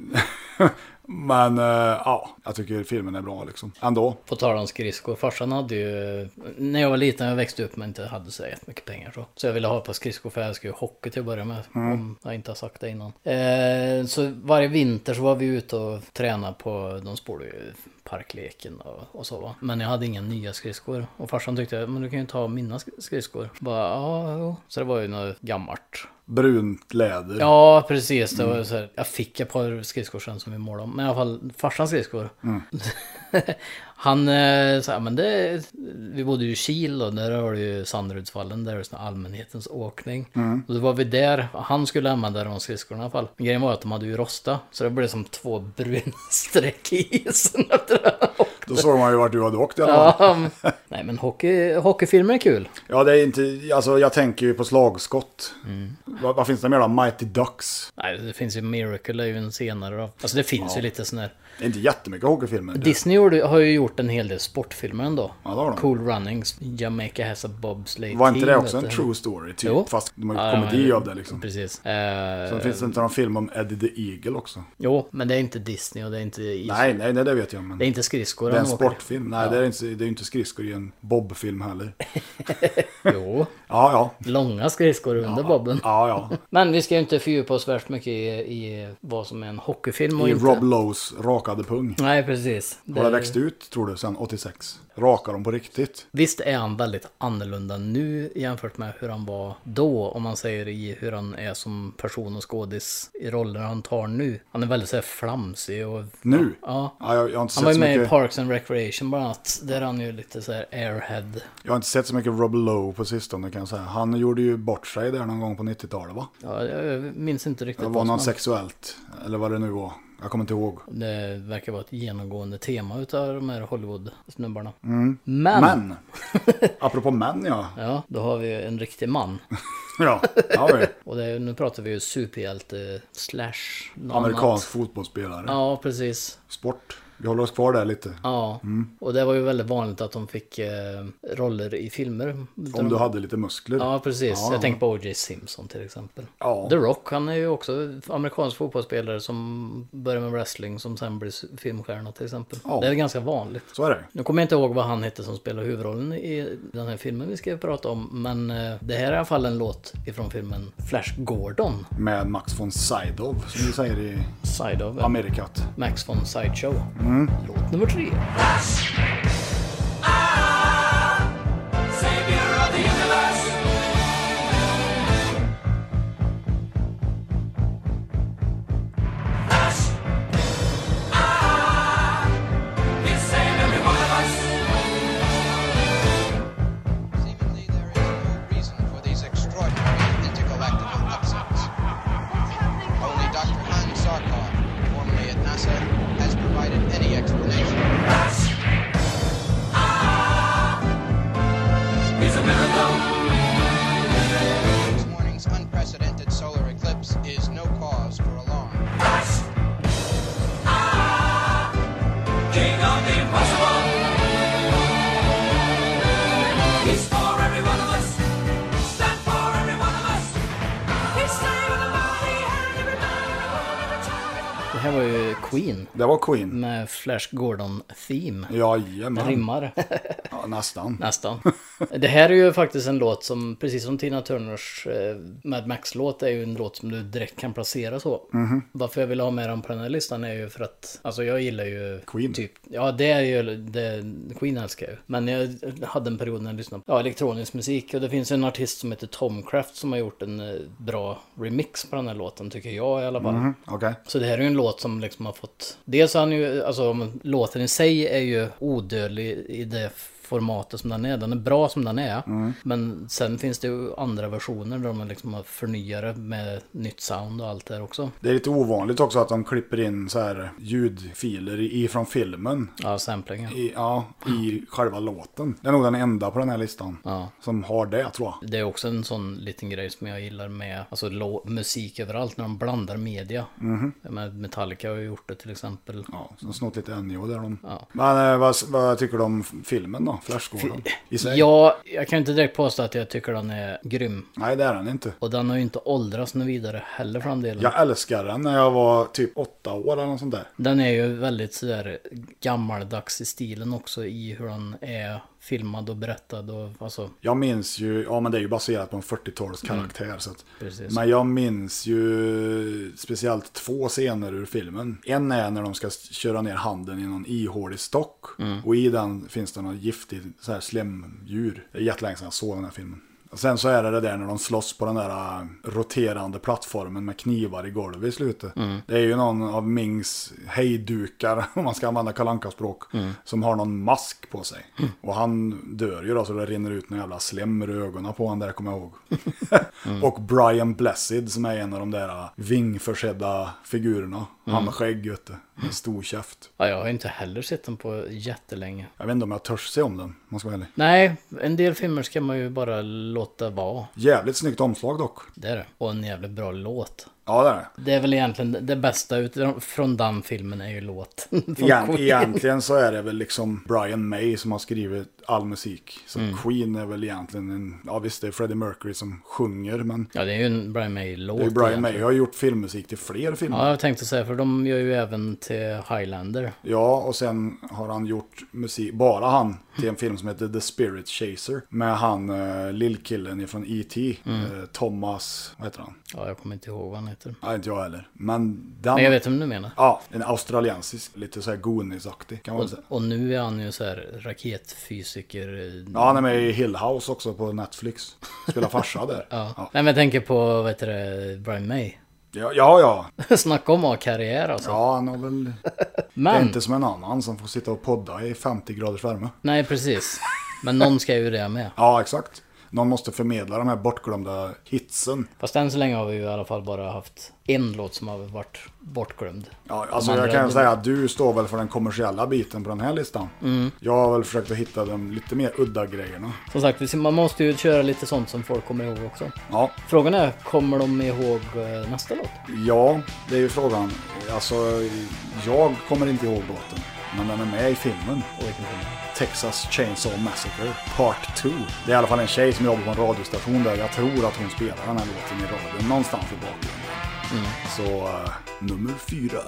Speaker 2: [laughs] Men eh, ja, jag tycker filmen är bra liksom. Ändå.
Speaker 3: På tal om skridskor, farsan hade ju... När jag var liten, jag växte upp men inte hade så mycket pengar så. Så jag ville ha ett par skridskor för jag älskar ju hockey till att börja med. Om jag inte har sagt det innan. Eh, så varje vinter så var vi ute och tränade på, de spolade ju parkleken och, och så va. Men jag hade inga nya skridskor. Och farsan tyckte, men du kan ju ta mina sk- skridskor. Bara, ja, jo. Så det var ju något gammalt.
Speaker 2: Brunt läder.
Speaker 3: Ja, precis. Det var så här, jag fick ett par skridskor sen som vi målade om. Men i alla fall farsans skridskor. [laughs] Han eh, sa, men det, vi bodde ju i Kil och där har du ju Sandrudsvallen, där är det sån här allmänhetens åkning. Och då var vi där, han skulle använda de skridskorna i alla fall. Men grejen var att de hade ju rostat, så det blev som två bruna [laughs] streck i isen efter det.
Speaker 2: Då såg man ju vart du hade åkt i alla fall.
Speaker 3: Ja, Nej men hockey, hockeyfilmer är kul.
Speaker 2: Ja, det är inte, alltså jag tänker ju på slagskott.
Speaker 3: Mm.
Speaker 2: Vad, vad finns det mer då? Mighty Ducks.
Speaker 3: Nej, det finns ju Miracle är ju en senare då. Alltså det finns ju lite sån här
Speaker 2: Inte jättemycket hockeyfilmer.
Speaker 3: Disney gjorde, har ju gjort en hel del sportfilmer ändå.
Speaker 2: Ja, det har de.
Speaker 3: Cool Runnings, Jamaica has a bobsleigh
Speaker 2: Var inte det
Speaker 3: team,
Speaker 2: också
Speaker 3: vet
Speaker 2: en
Speaker 3: du.
Speaker 2: true story typ?
Speaker 3: Jo.
Speaker 2: Fast de har
Speaker 3: Ja,
Speaker 2: gjort
Speaker 3: de
Speaker 2: komedi
Speaker 3: har-
Speaker 2: av det liksom.
Speaker 3: Precis. Eh,
Speaker 2: Sen finns det inte någon film om Eddie the Eagle också?
Speaker 3: Jo, men det är inte Disney och det är inte is.
Speaker 2: Nej, nej, nej, det vet jag. Men
Speaker 3: Det
Speaker 2: det
Speaker 3: är
Speaker 2: är,
Speaker 3: inte skridskor
Speaker 2: en
Speaker 3: han åker.
Speaker 2: sportfilm. Nej, det är inte, det är inte skridskor i en bobfilm heller.
Speaker 3: [laughs] Jo,
Speaker 2: Ja, ja.
Speaker 3: långa skridskor under bobben.
Speaker 2: Ja,
Speaker 3: [laughs]
Speaker 2: ja.
Speaker 3: Men vi ska ju inte fördjupa oss värst mycket i, i vad som är en hockeyfilm och
Speaker 2: I
Speaker 3: inte.
Speaker 2: Rob Lowes rakade pung.
Speaker 3: Nej, precis.
Speaker 2: Har det växt ut, tror du, sen 86? Rakar de på riktigt?
Speaker 3: Visst är han väldigt annorlunda nu jämfört med hur han var då, om man säger i hur han är som person och skådis i roller han tar nu. Han är väldigt så här flamsig och...
Speaker 2: Nu?
Speaker 3: Ja.
Speaker 2: Ja, jag, jag, har inte
Speaker 3: Han var
Speaker 2: sett
Speaker 3: ju
Speaker 2: så
Speaker 3: med i
Speaker 2: mycket,
Speaker 3: Parks and Recreation bland annat, där han ju lite så här airhead.
Speaker 2: jag har inte sett så mycket Rob Lowe på sistone kan jag säga. Han gjorde ju bort sig där någon gång på 90-talet va?
Speaker 3: Ja, jag minns inte riktigt
Speaker 2: Det var
Speaker 3: vad som
Speaker 2: något
Speaker 3: hände.
Speaker 2: sexuellt, eller vad det nu var. Jag kommer inte ihåg.
Speaker 3: Det verkar vara ett genomgående tema utav de här Hollywood-snubbarna. Men,
Speaker 2: Mm.
Speaker 3: [laughs]
Speaker 2: Men, apropå män ja.
Speaker 3: Ja, då har vi ju en riktig man.
Speaker 2: Ja, ja
Speaker 3: [laughs]
Speaker 2: vi.
Speaker 3: Och det är, nu pratar vi ju superhjälte slash något
Speaker 2: Amerikansk
Speaker 3: annat.
Speaker 2: fotbollsspelare.
Speaker 3: Ja, precis.
Speaker 2: Sport. Vi håller oss kvar där lite.
Speaker 3: Ja,
Speaker 2: Mm.
Speaker 3: och det var ju väldigt vanligt att de fick eh, roller i filmer.
Speaker 2: Om du hade lite muskler.
Speaker 3: Ja, precis.
Speaker 2: Ja, ja.
Speaker 3: Jag tänker på O.J. Simpson till exempel.
Speaker 2: Ja.
Speaker 3: The Rock, han är ju också amerikansk fotbollsspelare som börjar med wrestling som sen blir filmstjärna till exempel.
Speaker 2: Ja.
Speaker 3: Det är ganska vanligt.
Speaker 2: Så är det.
Speaker 3: Nu kommer jag inte ihåg vad han hette som spelar huvudrollen i den här filmen vi ska prata om. Men eh, det här är i alla fall en låt ifrån filmen Flash Gordon.
Speaker 2: Med Max von Sydow, som vi säger i
Speaker 3: Side of eh,
Speaker 2: Amerikat.
Speaker 3: Max von Sideshow. Låt nummer tre.
Speaker 9: Seemingly, there is no reason for these extraordinary intergalactical upsets. Only Dr. Hans Sarkar, formerly at NASA, has provided any explanation. This morning's unprecedented solar eclipse is no cause for alarm.
Speaker 10: Ah,
Speaker 3: Det här var ju Queen
Speaker 2: Det var Queen.
Speaker 3: med Flash Gordon-theme.
Speaker 2: Jajamän.
Speaker 3: Rimmar
Speaker 2: Ja, nästan.
Speaker 3: nästan. Det här är ju faktiskt en låt som, precis som Tina Turners eh, Mad Max-låt, är ju en låt som du direkt kan placera så. Varför jag vill ha med den på den här listan är ju för att, alltså jag gillar ju...
Speaker 2: Queen.
Speaker 3: Typ, ja det är ju, det, Queen älskar jag ju. Men jag hade en period när jag lyssnade på ja, elektronisk musik och det finns en artist som heter Tom Craft som har gjort en eh, bra remix på den här låten, tycker jag i alla fall.
Speaker 2: Mm, Okej.
Speaker 3: Så det här är ju en låt som liksom har fått... Dels har han ju, alltså om- låten i sig är ju odödlig i det formatet som den är. Den är bra som den är.
Speaker 2: Mm.
Speaker 3: Men sen finns det ju andra versioner där de liksom har förnyare med nytt sound och allt det här också.
Speaker 2: Det är lite ovanligt också att de klipper in så här ljudfiler i- ifrån filmen.
Speaker 3: Ja, samplingen.
Speaker 2: I, ja, i själva låten. Det är nog den enda på den här listan
Speaker 3: Ja.
Speaker 2: som har det tror jag.
Speaker 3: Det är också en sån liten grej som jag gillar med alltså, lå- musik överallt när de blandar media. Med Metallica har ju gjort det till exempel.
Speaker 2: Mm-hmm. Ja, så de har snott lite NJO där de.
Speaker 3: Ja.
Speaker 2: Men eh, vad, vad tycker du om filmen då? Flash Gordon? I sig?
Speaker 3: Ja, jag kan ju inte direkt påstå att jag tycker den är grym.
Speaker 2: Nej, det är den inte.
Speaker 3: Och den har ju inte åldrats något vidare heller för den delen.
Speaker 2: Jag älskar den när jag var typ åtta år eller något sånt där.
Speaker 3: Den är ju väldigt sådär gammaldags i stilen också i hur den är filmad och berättad och alltså
Speaker 2: Jag minns ju, ja men det är ju baserat på en 40-talskaraktär. så att-
Speaker 3: precis.
Speaker 2: Men jag minns ju speciellt två scener ur filmen. En är när de ska köra ner handen i någon ihålig stock. Och i den finns det någon giftig så här slemdjur. Det är jättelänge sedan jag såg den här filmen. Och sen så är det det där när de slåss på den där äh, roterande plattformen med knivar i golvet i slutet. Det är ju någon av Mings hejdukar, [laughs] om man ska använda kalanka språk som har någon mask på sig. Och han dör ju då så det rinner ut någon jävla slem ur ögonen på honom där kommer jag ihåg. Och Brian Blessed som är en av de där äh, vingförsedda figurerna. Han med skägg vet du. Med stor käft.
Speaker 3: Ja, jag har ju inte heller sett den på jättelänge.
Speaker 2: Jag vet inte om jag törs se om den, om jag ska vara ärlig.
Speaker 3: Nej, en del filmer ska man ju bara låta vara.
Speaker 2: Jävligt snyggt omslag dock.
Speaker 3: Det är det. Och en jävligt bra låt.
Speaker 2: Ja, det är det.
Speaker 3: Det är väl egentligen det bästa utifrån- från den filmen är ju låt. [laughs]
Speaker 2: Egent, egentligen så är det väl liksom Brian May som har skrivit all musik. Så
Speaker 3: Mm.
Speaker 2: Queen är väl egentligen en, ja visst det är Freddie Mercury som sjunger, men
Speaker 3: Ja, det är ju en Brian May-låt.
Speaker 2: det är ju Brian May
Speaker 3: egentligen.
Speaker 2: har gjort filmmusik till fler filmer.
Speaker 3: Ja, jag tänkte säga, för de gör ju även till Highlander.
Speaker 2: Ja, och sen har han gjort musik, bara han, till en film som heter The Spirit Chaser. Med han eh, lillkillen från E.T.
Speaker 3: Mm.
Speaker 2: Eh, Thomas, vad heter han?
Speaker 3: Ja, jag kommer inte ihåg vad han heter.
Speaker 2: Nej, inte jag heller. Men den...
Speaker 3: Men jag vet vem du menar.
Speaker 2: Ja, en australiensisk, lite så här Goonies-aktig kan man
Speaker 3: Och,
Speaker 2: säga.
Speaker 3: och nu är han ju så här raketfysiker. eh,
Speaker 2: Ja, han är med i Hill House också på Netflix. Spelar farsa där.
Speaker 3: [laughs] Ja. Nej men jag tänker på, vad heter det, Brian May. [laughs]
Speaker 2: Ja, ja, ja.
Speaker 3: Snacka om att ha karriär alltså.
Speaker 2: Ja, han har väl... Det är
Speaker 3: men,
Speaker 2: inte som en annan som får sitta och podda i 50 graders värme.
Speaker 3: nej precis. Men någon ska ju det med.
Speaker 2: Ja, exakt. Någon måste förmedla de här bortglömda hitsen.
Speaker 3: Fast än så länge har vi ju i alla fall bara haft en låt som har varit bortglömd.
Speaker 2: Ja, alltså
Speaker 3: De
Speaker 2: jag
Speaker 3: andra-
Speaker 2: kan ju säga att du står väl för den kommersiella biten på den här listan.
Speaker 3: Mm.
Speaker 2: Jag har väl försökt att hitta de lite mer udda grejerna.
Speaker 3: Som sagt, vi ser- man måste ju köra lite sånt som folk kommer ihåg också.
Speaker 2: Ja,
Speaker 3: Frågan är, kommer de ihåg eh, nästa låt?
Speaker 2: ja det är ju frågan. Alltså, jag kommer inte ihåg låten. Men den är med i filmen.
Speaker 3: Och vilken film?
Speaker 2: Texas Chainsaw Massacre Part 2. Det är i alla fall en tjej som jobbar på en radiostation där. Jag tror att hon spelar den här låten i radion någonstans i bakgrunden.
Speaker 3: Mm.
Speaker 2: Så, eh, nummer fyra.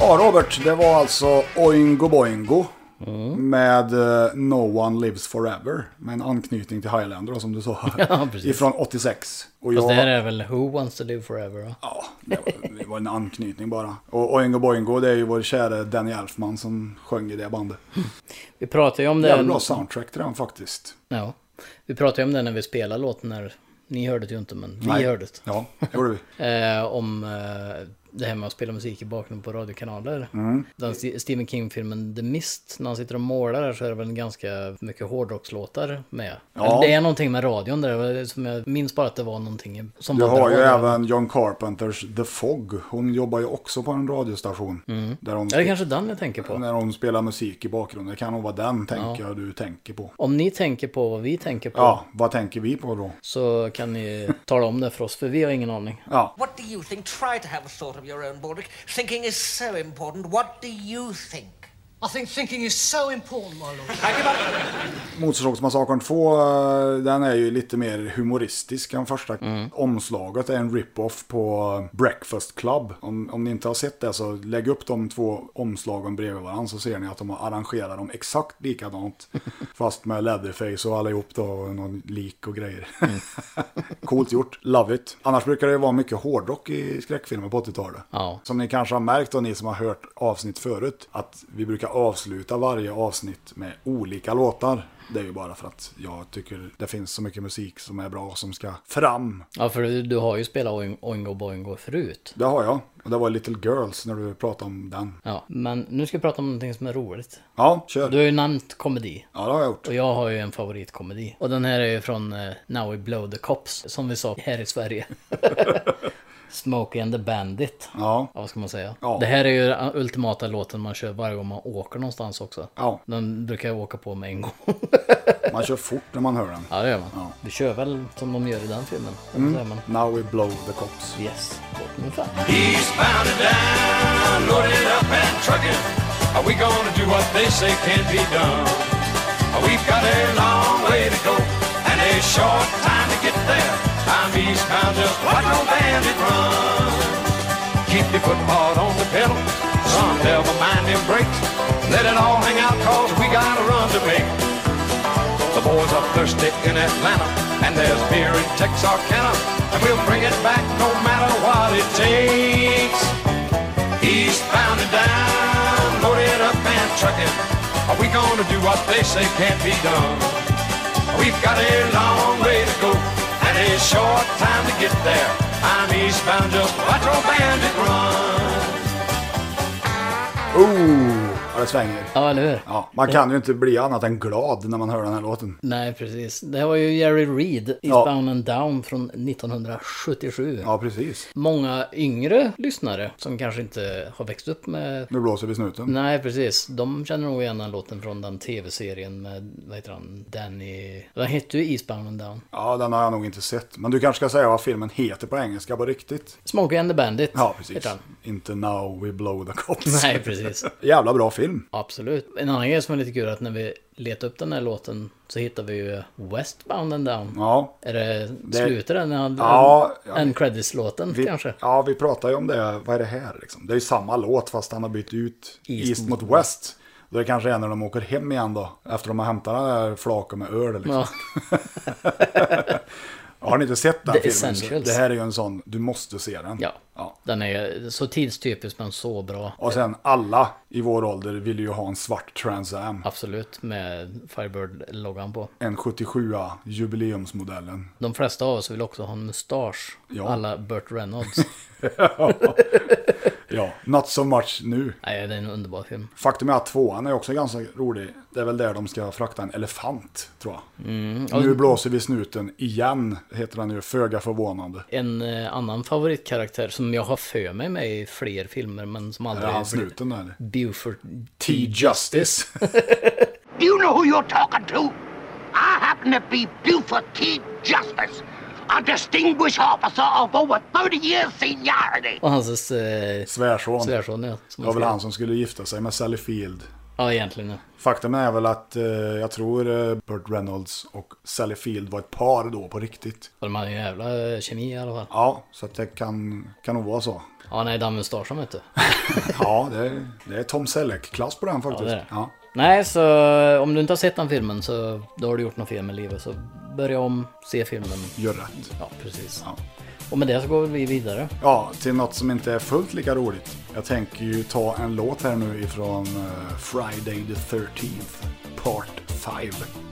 Speaker 2: Ja, Robert, det var alltså Oingo Boingo.
Speaker 3: Mm.
Speaker 2: Med eh, No One Lives Forever. Med en anknytning till Highlander då, som du sa.
Speaker 3: [laughs] Ja, precis.
Speaker 2: Ifrån 86. Och
Speaker 3: Fast
Speaker 2: jag-
Speaker 3: det här är väl Who Wants To Live Forever? va?
Speaker 2: Ja, det var, det var en anknytning bara. Och Oingo Boingo, det är ju vår kära Danny Elfman som sjöng i det bandet.
Speaker 3: Vi pratar ju om det...
Speaker 2: Jävligt bra soundtrack till den faktiskt.
Speaker 3: Ja. Vi pratade ju om det när vi spelade låten när Ni hörde det ju inte men vi
Speaker 2: Nej.
Speaker 3: hörde det.
Speaker 2: Ja, det gjorde
Speaker 3: [laughs]
Speaker 2: vi.
Speaker 3: Eh, om eh, det här med att spela musik i bakgrunden på radiokanaler.
Speaker 2: Mm.
Speaker 3: Den St- Stephen King-filmen The Mist, när han sitter och målar där så är det väl ganska mycket hårdrockslåtar med. Eller Det är någonting med radion där, det var som jag minns bara att det var någonting som
Speaker 2: Du
Speaker 3: var
Speaker 2: har ju
Speaker 3: drag.
Speaker 2: även John Carpenters The Fog. Hon jobbar ju också på en radiostation. Där hon
Speaker 3: Mm. Ja, det är kanske den jag tänker på.
Speaker 2: När hon spelar musik i bakgrunden. Det kan nog vara den, tänker jag, du tänker på.
Speaker 3: Om ni tänker på vad vi tänker på
Speaker 2: Ja, vad tänker vi på då?
Speaker 3: så kan ni tala om det för oss, för vi har ingen aning.
Speaker 2: Ja,
Speaker 11: What do you think? Try to have a thought of your own, Baldrick. Thinking is so important. What do you think?
Speaker 5: I think thinking is so important, my lord.
Speaker 2: Motorsågsmassakern 2, eh, den är ju lite mer humoristisk än första. Omslaget är en rip-off på eh, Breakfast Club. Om, om ni inte har sett det så lägg upp de två omslagen bredvid varandra så ser ni att de har arrangerat dem exakt likadant. fast med Leatherface och allihop då, och någon lik och grejer. Coolt gjort, love it. Annars brukar det ju vara mycket hårdrock i skräckfilmer på 80-talet.
Speaker 3: Ja.
Speaker 2: Som ni kanske har märkt och ni som har hört avsnitt förut, att vi brukar avsluta varje avsnitt med olika låtar. Det är ju bara för att jag tycker det finns så mycket musik som är bra som ska fram.
Speaker 3: Ja, för du, du har ju spelat Oing- Oingo Boingo förut.
Speaker 2: Det har jag. Och det var Little Girls när du pratade om den.
Speaker 3: Ja, men nu ska vi prata om någonting som är roligt.
Speaker 2: Ja, kör.
Speaker 3: Du har ju nämnt komedi.
Speaker 2: Ja, det har jag gjort.
Speaker 3: Och jag har ju en favoritkomedi. Och den här är ju från eh, Now We Blow The Cops, som vi sa här i Sverige. [laughs] Smokey and the Bandit.
Speaker 2: Ja.
Speaker 3: Ja, vad ska man säga?
Speaker 2: Ja.
Speaker 3: Det här är ju den ultimata låten man kör varje gång man åker någonstans också.
Speaker 2: Ja,
Speaker 3: Den brukar jag åka på med en gång.
Speaker 2: man kör fort när man hör den.
Speaker 3: ja, det gör man. Mm.
Speaker 2: Ja.
Speaker 3: Vi kör väl som de gör i den filmen. Så är man.
Speaker 2: Now we blow the cops.
Speaker 3: Yes, låt nummer fem.
Speaker 6: He's bound and down, loaded up and trucking. Are we gonna do what they say can't be done? We've got a long way to go and a short time to get there. I'm eastbound, just watch no bandit run. Keep your foot hard on the pedal, son, never mind them brakes. Let it all hang out, cause we got a run to make. The boys are thirsty in Atlanta, and there's beer in Texarkana, and we'll bring it back no matter what it takes. Eastbound and down, loaded up and trucking. Are we gonna do what they say can't be done? We've got a long way to go and a short time to get there. I'm eastbound, just watch old bandit run.
Speaker 2: Oh, vad det svänger.
Speaker 3: Ja, eller hur?
Speaker 2: Ja, man kan ju inte bli annat än glad när man hör den här låten.
Speaker 3: Nej, precis. Det var ju Jerry Reed, Eastbound and Down från 1977.
Speaker 2: Ja, precis.
Speaker 3: Många yngre lyssnare som kanske inte har växt upp med...
Speaker 2: Nu blåser vi snuten.
Speaker 3: Nej, precis. De känner nog igen den låten från den tv-serien med, vad heter han, Danny... Den hette ju Eastbound and Down.
Speaker 2: Ja, den har jag nog inte sett. Men du kanske ska säga vad filmen heter på engelska på riktigt?
Speaker 3: Smokey and the Bandit.
Speaker 2: Ja,
Speaker 3: heter
Speaker 2: precis.
Speaker 3: han.
Speaker 2: Inte Now We Blow The Cops.
Speaker 3: [laughs] Nej, precis.
Speaker 2: Jävla bra film.
Speaker 3: Absolut. En annan grej som är lite kul är att när vi letar upp den här låten så hittar vi ju Westbound and Down.
Speaker 2: Ja,
Speaker 3: Är det, slutet den? när han-
Speaker 2: Ja,
Speaker 3: en-
Speaker 2: ja.
Speaker 3: en credits-låten
Speaker 2: vi,
Speaker 3: kanske?
Speaker 2: Ja, vi pratar ju om det. Vad är det här liksom? Det är ju samma låt fast han har bytt ut East,
Speaker 3: East
Speaker 2: mot
Speaker 3: mot
Speaker 2: West. Då är det kanske är när de åker hem igen då. Efter de har hämtat den här flaken med öl liksom.
Speaker 3: Ja,
Speaker 2: Har ni inte sett den
Speaker 3: The
Speaker 2: filmen? Så
Speaker 3: Essentials.
Speaker 2: det här är ju en sån, du måste se den.
Speaker 3: ja. Den är så tidstypisk men så bra.
Speaker 2: Och sen alla i vår ålder vill ju ha en svart Trans Am.
Speaker 3: Absolut, med Firebird-loggan på.
Speaker 2: En 77a, jubileumsmodellen.
Speaker 3: De flesta av oss vill också ha en mustasch.
Speaker 2: Ja.
Speaker 3: Alla Burt Reynolds.
Speaker 2: Ja, not so much nu.
Speaker 3: Nej, det är en underbar film.
Speaker 2: Faktum är att tvåan är också ganska rolig. Det är väl där de ska frakta en elefant, tror jag.
Speaker 3: Ja,
Speaker 2: Nu blåser vi snuten igen, heter den ju. Föga förvånande.
Speaker 3: En eh, annan favoritkaraktär som jag har för mig med i fler filmer men som
Speaker 2: Är
Speaker 3: aldrig...
Speaker 2: det han snuten där?
Speaker 3: Buford
Speaker 2: T-Justice.
Speaker 12: Do you know who you're talking to? I happen to be Buford T. Justice, a distinguished officer of over 30 years seniority.
Speaker 3: Och hans eh,
Speaker 2: [laughs] Svärson.
Speaker 3: svärson ja.
Speaker 2: Det
Speaker 3: som
Speaker 2: var väl
Speaker 3: skrev.
Speaker 2: han som skulle gifta sig med Sally Field.
Speaker 3: Ja, egentligen ja.
Speaker 2: Faktum är väl att eh, jag tror eh, Burt Reynolds och Sally Field var ett par då på riktigt.
Speaker 3: Och de hade en jävla eh, kemi i alla fall.
Speaker 2: Ja, så att det kan, kan nog vara så.
Speaker 3: Ja, nej, den mustaschen vet du.
Speaker 2: Ja, det, är- det är Tom Selleck-klass på den
Speaker 3: Ja, det
Speaker 2: faktiskt.
Speaker 3: är
Speaker 2: Ja,
Speaker 3: det. Nej, så eh, om du inte har sett den filmen så då har du gjort något fel med livet. Så börja om, se filmen.
Speaker 2: Gör rätt.
Speaker 3: Ja, precis.
Speaker 2: Ja.
Speaker 3: Och med det så går vi vidare.
Speaker 2: Ja, till något som inte är fullt lika roligt. Jag tänker ju ta en låt här nu ifrån eh, Friday the 13th, Part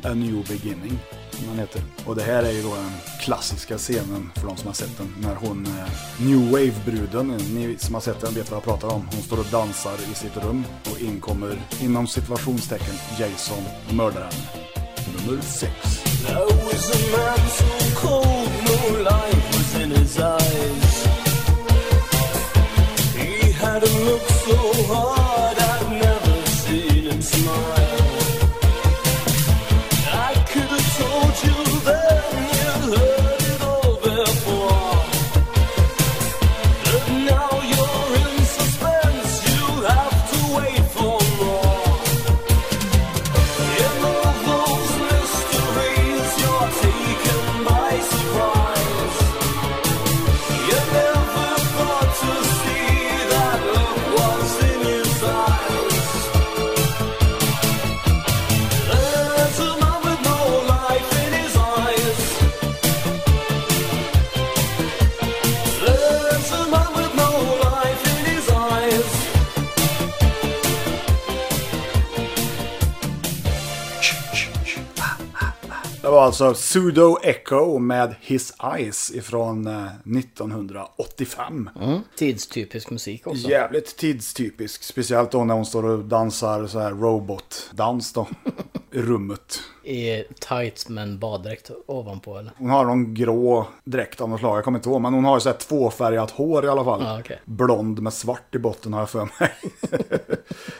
Speaker 2: 5, A New Beginning. Som den heter. Och det här är ju då den klassiska scenen för de som har sett den. När hon, eh, New Wave-bruden, ni som har sett den vet vad jag pratar om. Hon står och dansar i sitt rum och inkommer, inom situationstecken, Jason och mördar henne. Nummer 6.
Speaker 10: There was a man so cold, no light was in his eyes. He had a look so hard, I'd never seen him smile. I could have told you then, you heard it all before. But now you're in suspense, you have to wait for more. In all those mysteries, you're taken by surprise. You never thought to see that look was in his eyes. There's a man with no life in his eyes. There's a man with no life in his eyes.
Speaker 2: Det var alltså Pseudo Echo med His Eyes ifrån eh, 1985.
Speaker 3: Tidstypisk musik också.
Speaker 2: Jävligt tidstypisk, speciellt då när hon står och dansar så här robotdans då i rummet.
Speaker 3: I tights med en baddräkt ovanpå eller?
Speaker 2: Hon har någon grå dräkt av något slag, jag kommer inte ihåg, men hon har ju så här tvåfärgat hår i alla fall.
Speaker 3: Ja, okej.
Speaker 2: Blond med svart i botten har jag för mig. [laughs]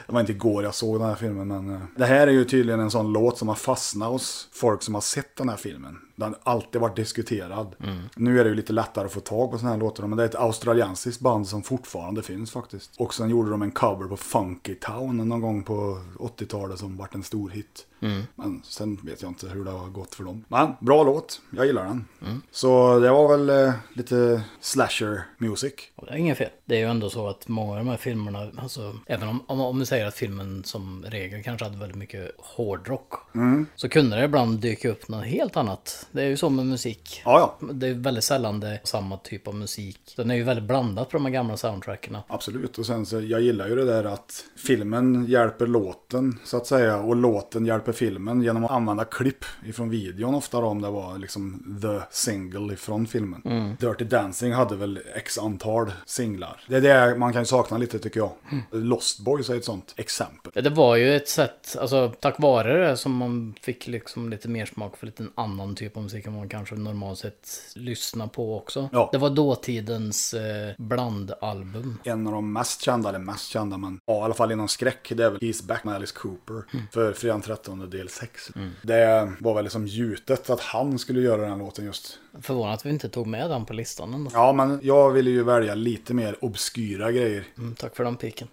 Speaker 2: det var inte igår jag såg den här filmen, men eh, det här är ju tydligen en sån låt som har fastnat hos folk som har sett den här filmen. Den har alltid varit diskuterad. Nu är det ju lite lättare att få tag på såna här låtar, men det är ett australiensiskt band som fortfarande finns faktiskt. Och sen gjorde de en cover på Funky Town någon gång på 80-talet som vart en stor hit. Men sen vet jag inte hur det har gått för dem. Men bra låt, jag gillar den. Så det var väl eh, lite slasher music.
Speaker 3: Och Det är inget fel. Det är ju ändå så att många av de här filmerna, alltså, även om, om om, om du säger att filmen som regel kanske hade väldigt mycket hårdrock.
Speaker 2: Mm.
Speaker 3: Så kunde det ibland dyka upp något helt annat. Det är ju så med musik.
Speaker 2: Ja,
Speaker 3: Det är väldigt sällan det är samma typ av musik. Den är ju väldigt blandat på de här gamla soundtrackerna.
Speaker 2: Absolut, och sen så jag gillar ju det där att filmen hjälper låten så att säga och låten hjälper filmen genom att använda klipp ifrån videon ofta då, om det var liksom the single ifrån filmen.
Speaker 3: Mm.
Speaker 2: Dirty Dancing hade väl x antal singlar. Det är det man kan ju sakna lite tycker jag. Lost Boys är ett sånt exempel.
Speaker 3: Mm. Ja, Det var ju ett sätt, alltså tack vare det som man fick liksom lite mer smak för lite en annan typ av musik än man kanske normalt sett lyssnar på också.
Speaker 2: Ja.
Speaker 3: Det var dåtidens eh, blandalbum.
Speaker 2: En av de mest kända, eller mest kända, men ja, i alla fall inom skräck, det är väl He's Back med Alice Cooper
Speaker 3: Mm.
Speaker 2: för Fredagen 13 del 6. Det var väl liksom gjutet att han skulle göra den låten just.
Speaker 3: Förvånad att vi inte tog med den på listan ändå.
Speaker 2: Ja, men jag ville ju välja lite mer obskyra grejer.
Speaker 3: Mm, tack för den piken.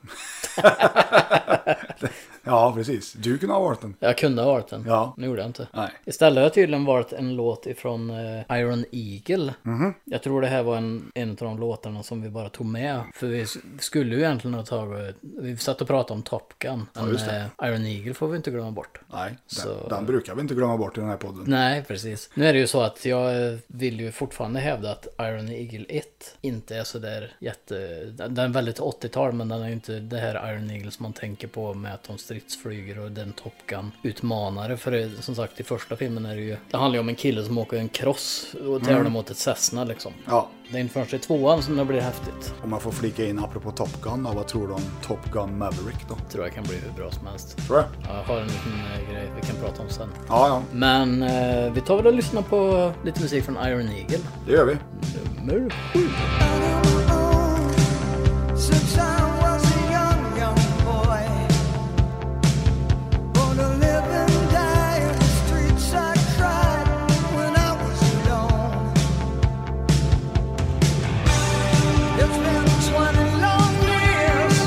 Speaker 2: Ja, precis. Du kunde ha valt den.
Speaker 3: Jag kunde ha varit den.
Speaker 2: Ja.
Speaker 3: Nu gjorde jag inte.
Speaker 2: Nej.
Speaker 3: Istället har jag tydligen varit en låt ifrån eh, Iron Eagle.
Speaker 2: Mhm.
Speaker 3: Jag tror det här var en, en av de låtarna som vi bara tog med. För vi s- skulle ju egentligen ha tagit... Vi satt och pratade om Top Gun.
Speaker 2: Ja,
Speaker 3: Men,
Speaker 2: just det.
Speaker 3: eh, Iron Eagle får vi inte glömma bort.
Speaker 2: Nej,
Speaker 3: Så-
Speaker 2: den, den brukar vi inte glömma bort i den här podden.
Speaker 3: Nej, precis. Nu är det ju så att jag eh, vill ju fortfarande hävda att Iron Eagle 1 inte är sådär jätte... Den den är väldigt 80-tal, men den är ju inte det här Iron Eagle som man tänker på med att de stridsflyger och den Top Gun-utmanare. För det, som sagt, i första filmen är det ju... Det handlar ju om en kille som åker en cross och tävlar
Speaker 2: Mm.
Speaker 3: mot ett Cessna liksom.
Speaker 2: Ja,
Speaker 3: Det är inte förrän i tvåan som det blir häftigt.
Speaker 2: om man får flika in apropå Top Gun, då, vad tror du om Top Gun Maverick då?
Speaker 3: Tror jag kan bli hur bra som helst.
Speaker 2: Tror jag.
Speaker 3: Ja, Jag har en liten eh, grej vi kan prata om sen.
Speaker 2: Ja, ja,
Speaker 3: Men eh, vi tar väl och lyssnar på lite musik från Iron Eagle.
Speaker 2: det gör vi.
Speaker 3: Nummer sju.
Speaker 5: Since I was a young, young boy, born to live and die in the streets. I cried when I was alone. It's been 20 long years.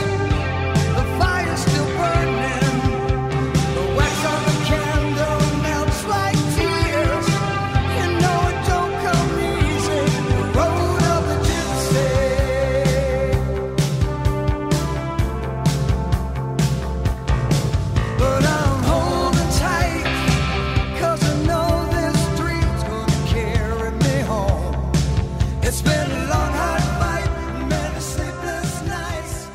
Speaker 5: The fire's still burning. The wax on the candle melts like tears. You know it don't come easy. The road of the gypsy. But I'm holding tight, 'cause I know this dream's gonna carry me home. It's been a long, hard fight, many sleepless nights.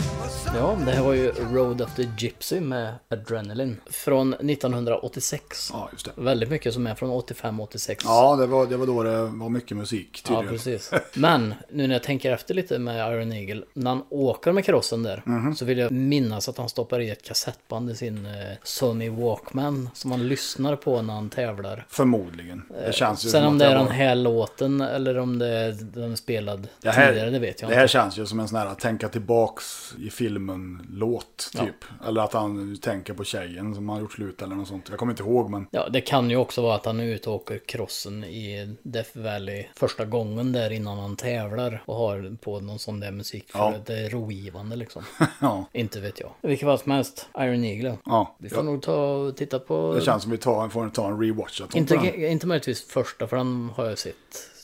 Speaker 3: Ja, det här var ju Road of the Gypsy med Adrenaline. Från 1986.
Speaker 2: Ja, just det.
Speaker 3: Väldigt mycket som är från 85-86.
Speaker 2: Ja, det var, det var då det var mycket musik
Speaker 3: Ja,
Speaker 2: tydligen. [laughs]
Speaker 3: precis. Men nu när jag tänker efter lite med Iron Eagle, när han åker med karossen där,
Speaker 2: Mhm.
Speaker 3: så vill jag minnas att han stoppar i ett kassettband i sin eh, Sony Walkman som han lyssnar på när han tävlar.
Speaker 2: Förmodligen.
Speaker 3: Eh,
Speaker 2: Det känns ju
Speaker 3: Sen
Speaker 2: som
Speaker 3: om
Speaker 2: att
Speaker 3: det är
Speaker 2: var-
Speaker 3: den här låten eller om det är den spelad
Speaker 2: det här,
Speaker 3: tidigare, det vet jag
Speaker 2: Det här
Speaker 3: inte.
Speaker 2: känns ju som en sån här tänka tillbaks i filmen-låt
Speaker 3: Ja.
Speaker 2: typ. Eller att han tänker på tjejen som har gjort slut eller något sånt. Jag kommer inte ihåg men. [laughs]
Speaker 3: Ja, det kan ju också vara att han är ute och åker crossen i Death Valley första gången där innan han tävlar och har på någon sån där musik. För
Speaker 2: Ja.
Speaker 3: att det är rogivande liksom. [laughs]
Speaker 2: Ja.
Speaker 3: inte vet jag. I vilket fall som helst, Iron Eagle.
Speaker 2: Ja.
Speaker 3: Vi får nog ta och titta på...
Speaker 2: Det känns som vi tar, får ta en rewatch.
Speaker 3: inte, inte möjligtvis första, för den har jag sett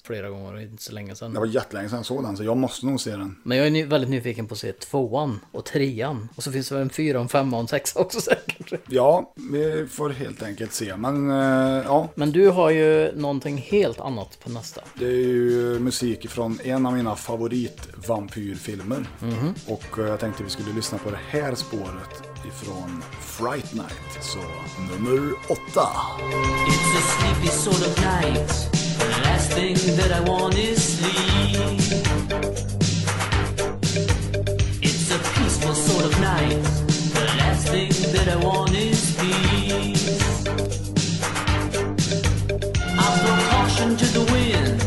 Speaker 3: flera gånger och inte så länge sedan.
Speaker 2: Det var jättelänge sedan jag såg den så jag måste nog se den.
Speaker 3: Men jag är ny, väldigt nyfiken på att se tvåan och trean. Och så finns det väl en fyra, en femma och en sexa också [laughs] säkert.
Speaker 2: Ja, vi får helt enkelt se. Men eh, ja,
Speaker 3: Men du har ju någonting helt annat på nästa.
Speaker 2: det är ju musik från en av mina favoritvampyrfilmer.
Speaker 3: Mhm.
Speaker 2: Och eh, jag tänkte vi skulle lyssna på det här spåret ifrån Fright Night. Så nummer åtta.
Speaker 10: It's a sleepy sort of night. The last thing that I want is sleep. It's a peaceful sort of night. The last thing that I want is peace. I throw caution to the wind,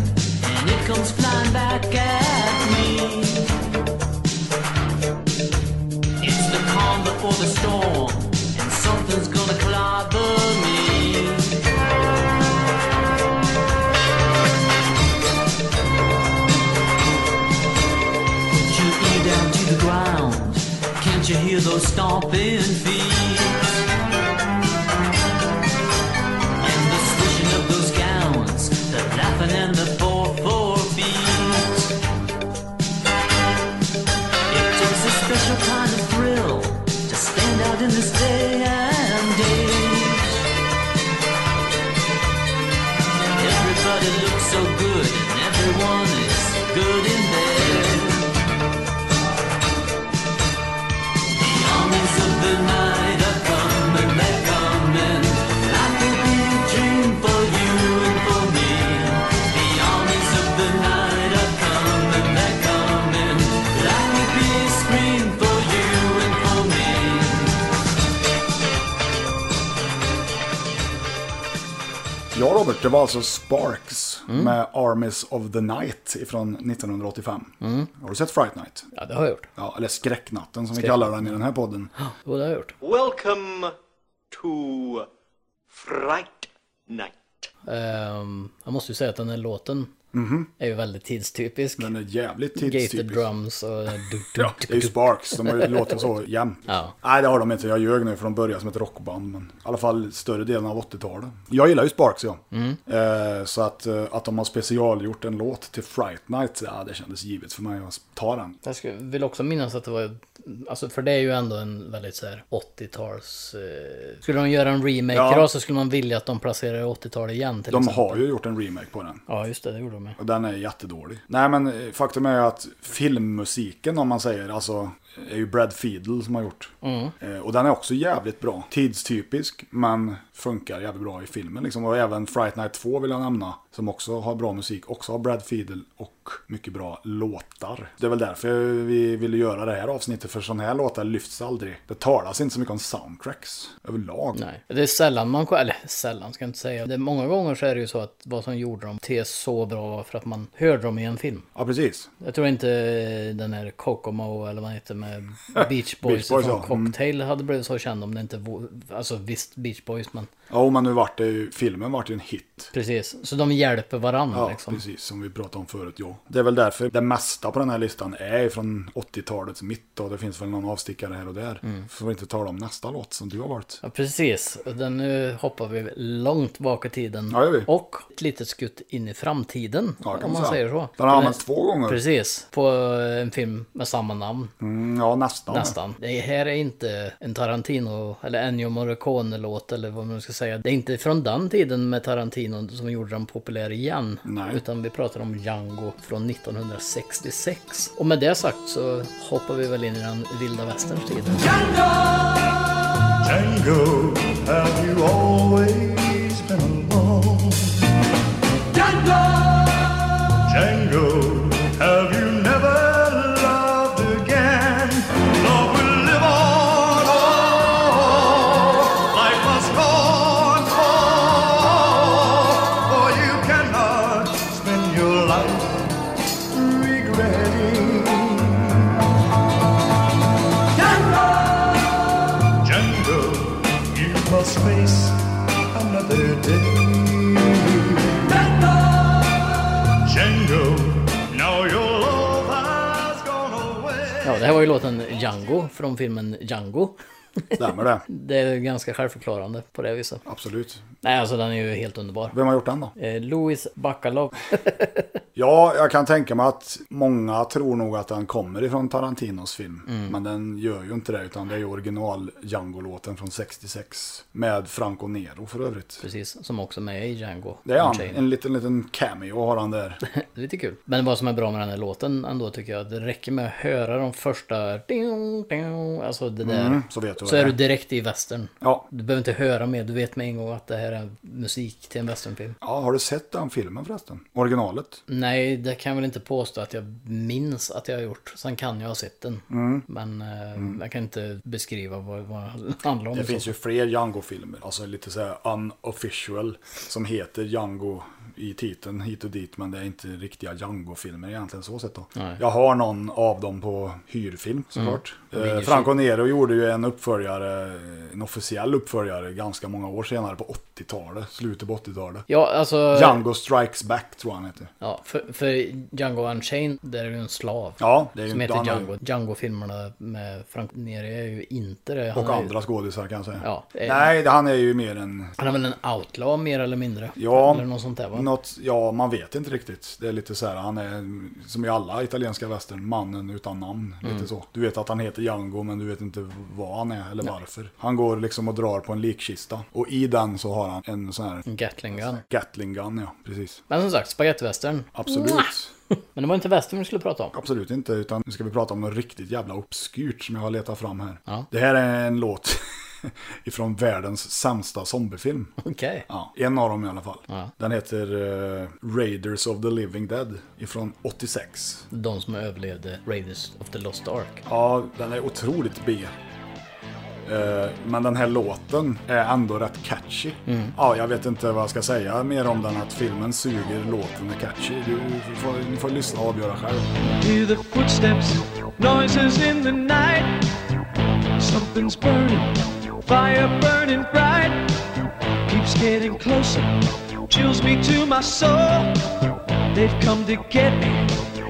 Speaker 10: and it comes flying back at me. It's the calm before the storm, and something's gonna clobber me. Put your ear down to the ground. Can't you hear those stomping feet? And the swishing of those gowns, the laughing and the four four beat. It takes a special kind of thrill to
Speaker 13: Everybody looks so good, and everyone is good in bed. The armies of the night are coming, they're coming, like a big dream for you and for me. The armies of the night are coming, they're coming, like a big scream for you and for me.
Speaker 2: Ja Robert, det var alltså Sparks
Speaker 3: Mm.
Speaker 2: med Armies of the Night ifrån 1985. Har du sett Fright Night?
Speaker 3: Mm. Ja, det har jag gjort.
Speaker 2: Ja, eller Skräcknatten som vi
Speaker 3: Skräck-
Speaker 2: kallar den i den här podden.
Speaker 3: Jo, det har jag gjort.
Speaker 14: Welcome to Fright Night.
Speaker 3: Ehm, jag måste ju säga att den här låten
Speaker 2: Mhm.
Speaker 3: är ju väldigt tidstypisk.
Speaker 2: Den är jävligt
Speaker 3: Gated
Speaker 2: tidstypisk. [laughs]
Speaker 3: drums och...
Speaker 2: Ja, det är ju Sparks, de har ju låtit så jämt. Nej, det har de inte. Jag ljög nu för de började som ett rockband. Men I alla fall större delen av 80-talet. Jag gillar ju Sparks, ja.
Speaker 10: Mm.
Speaker 2: Eh, så att, eh, att de har specialgjort en låt till Fright Night, ja, det kändes givet för mig att ta den.
Speaker 3: Jag skulle, vill också minnas att det var, alltså för det är ju ändå en väldigt så här 80-tals... Eh, skulle de göra en remake
Speaker 2: Ja.
Speaker 3: idag så skulle man vilja att de placerar 80-talet igen till
Speaker 2: De
Speaker 3: exempel.
Speaker 2: har ju gjort en remake på den.
Speaker 3: Ja, just det, det gjorde de med.
Speaker 2: Och den är jättedålig. Nej men eh, faktum är ju att filmmusiken om man säger, alltså är ju Brad Fiedel som har gjort.
Speaker 3: Mm.
Speaker 2: Eh, Och den är också jävligt bra. Tidstypisk, men funkar jävligt bra i filmen liksom. Och även Fright Night 2 vill jag nämna, som också har bra musik, också har Brad Fiedel och mycket bra låtar. Det är väl därför vi ville göra det här avsnittet, för sådana här låtar lyfts aldrig. Det talas inte så mycket om soundtracks överlag.
Speaker 3: Nej. Det är sällan man, eller sällan ska jag inte säga. Det är många gånger så är det ju så att vad som gjorde dem till så bra var för att man hörde dem i en film.
Speaker 2: Ja, precis.
Speaker 3: Jag tror inte eh, den här Kokomo eller vad han
Speaker 2: [laughs]
Speaker 3: heter med Beach
Speaker 2: Beach
Speaker 3: Boys,
Speaker 2: Boys,
Speaker 3: från
Speaker 2: ja. Mm.
Speaker 3: Cocktail hade blivit så känd om det inte vore- alltså visst Beach Boys men
Speaker 2: Ja, men nu vart det ju, filmen vart ju en hit.
Speaker 3: precis. Så de hjälper varandra
Speaker 2: Ja,
Speaker 3: liksom.
Speaker 2: precis. Som vi pratade om förut, ja. Det är väl därför det mesta på den här listan är från 80-talets mitt. Och det finns väl någon avstickare här och där.
Speaker 3: Mm.
Speaker 2: Får vi inte tala om nästa låt som du har valt.
Speaker 3: Ja, precis. Och Den, nu hoppar vi långt bak i tiden.
Speaker 2: Ja, gör vi.
Speaker 3: Och ett litet skutt in i framtiden.
Speaker 2: Ja, kan
Speaker 3: om
Speaker 2: man
Speaker 3: man
Speaker 2: säga.
Speaker 3: säger så.
Speaker 2: Den har använts två gånger.
Speaker 3: Precis. På en film med samma namn.
Speaker 2: Mm, ja, nästan.
Speaker 3: Nästan. Det här är inte en Tarantino eller Ennio Morricone-låt eller vad man ska säga. Det är inte från den tiden med Tarantino som gjorde den populär igen.
Speaker 2: Nej.
Speaker 3: Utan vi pratar om Django från 1966. Och med det sagt så hoppar vi väl in i den vilda västerns tider.
Speaker 10: Django, have you always been alone? Django! Django, have you never loved again? Love will live on, on. Life must go on, on. oh, For you cannot spend your life regretting. Django, you must face another day. Django, Django, now your love has gone away.
Speaker 3: Ja, det här var ju låten Django från filmen Django.
Speaker 2: Stämmer det?
Speaker 3: Det är ganska självförklarande på det viset.
Speaker 2: Absolut.
Speaker 3: Nej, alltså den är ju helt underbar.
Speaker 2: Vem har gjort den då?
Speaker 3: Eh, Louis Bacalov. [laughs]
Speaker 2: Ja, jag kan tänka mig att många tror nog att den kommer ifrån Tarantinos film. Men den gör ju inte det, utan det är ju original Django-låten från 66. Med Franco Nero för övrigt.
Speaker 3: Precis, som också är med i Django.
Speaker 2: Det är han.
Speaker 3: Unchained.
Speaker 2: En liten, liten cameo har han [laughs] där.
Speaker 3: Lite kul. Men vad som är bra med den här låten ändå tycker jag, att det räcker med att höra de första... ding, ding, Alltså det där.
Speaker 2: Mm, så vet du vad
Speaker 3: så
Speaker 2: det
Speaker 3: är
Speaker 2: är.
Speaker 3: du direkt i västern.
Speaker 2: Ja.
Speaker 3: Du behöver inte höra mer, du vet med en gång att det här är musik till en westernfilm.
Speaker 2: Ja, har du sett den filmen förresten? Originalet?
Speaker 3: Nej, det kan jag väl inte påstå att jag minns att jag har gjort. Sen kan jag ha sett den.
Speaker 2: Mm.
Speaker 3: Men eh, jag kan inte beskriva vad, vad det handlar om.
Speaker 2: Det
Speaker 3: i
Speaker 2: finns
Speaker 3: så
Speaker 2: ju fler Django-filmer, alltså lite så här unofficial, som heter Django i titeln hit och dit, men det är inte riktiga Django-filmer egentligen så sett då.
Speaker 10: Nej.
Speaker 2: Jag har någon av dem på hyrfilm såklart.
Speaker 10: Mm. Ringer
Speaker 2: Eh,
Speaker 10: sig.
Speaker 2: Franco Nero gjorde ju en uppföljare, en officiell uppföljare ganska många år senare på 80-talet, slutet på 80-talet.
Speaker 3: Ja, alltså-
Speaker 2: Django Strikes Back tror jag han heter.
Speaker 3: Ja, för För, för Django Unchained, där är ju en slav.
Speaker 2: Ja, det är ju
Speaker 3: Som
Speaker 2: inte-
Speaker 3: heter
Speaker 2: han har ju-
Speaker 3: Django. Django-filmerna med Frank Neri är ju inte det. Han
Speaker 2: Och
Speaker 3: är ju-
Speaker 2: andra skådisar kan jag säga.
Speaker 3: Ja, eh.
Speaker 2: Nej, han är ju mer en...
Speaker 3: Han är väl en outlaw mer eller mindre?
Speaker 2: Ja,
Speaker 3: Eller något sånt där va?
Speaker 2: något, ja, man vet inte riktigt. Det är lite så här, han är som i alla italienska västern, mannen utan namn.
Speaker 3: Mm.
Speaker 2: Lite så. Du vet att han heter Django men du vet inte vad han är eller
Speaker 3: Nej.
Speaker 2: varför. Han går liksom och drar på en likkista. Och i den så har han en sån här
Speaker 3: En Gatling gun.
Speaker 2: Gatling gun, ja. Precis.
Speaker 3: Men som sagt, spagettivästern.
Speaker 2: Absolut.
Speaker 3: Men det var inte västern vi skulle prata om.
Speaker 2: Absolut inte, utan nu ska vi prata om något riktigt jävla obskyrt som jag har letat fram här.
Speaker 3: Ja.
Speaker 2: Det här är en låt [laughs] ifrån världens sämsta zombiefilm.
Speaker 3: Okej.
Speaker 2: Ja, en av dem i alla fall.
Speaker 3: Ja.
Speaker 2: Den heter eh, Raiders of the Living Dead ifrån 86.
Speaker 3: De som överlevde Raiders of the Lost Ark.
Speaker 2: Ja, den är otroligt B. Eh, Men den här låten är ändå rätt catchy.
Speaker 3: Mm.
Speaker 2: Ja, jag vet inte vad jag ska säga mer om den, att filmen suger, låten är catchy. Du får, ni får lyssna och avgöra själv.
Speaker 10: Hear the footsteps, noises in the night. Something's burning, fire burning bright. Keeps getting closer, chills me to my soul. They've come to get me.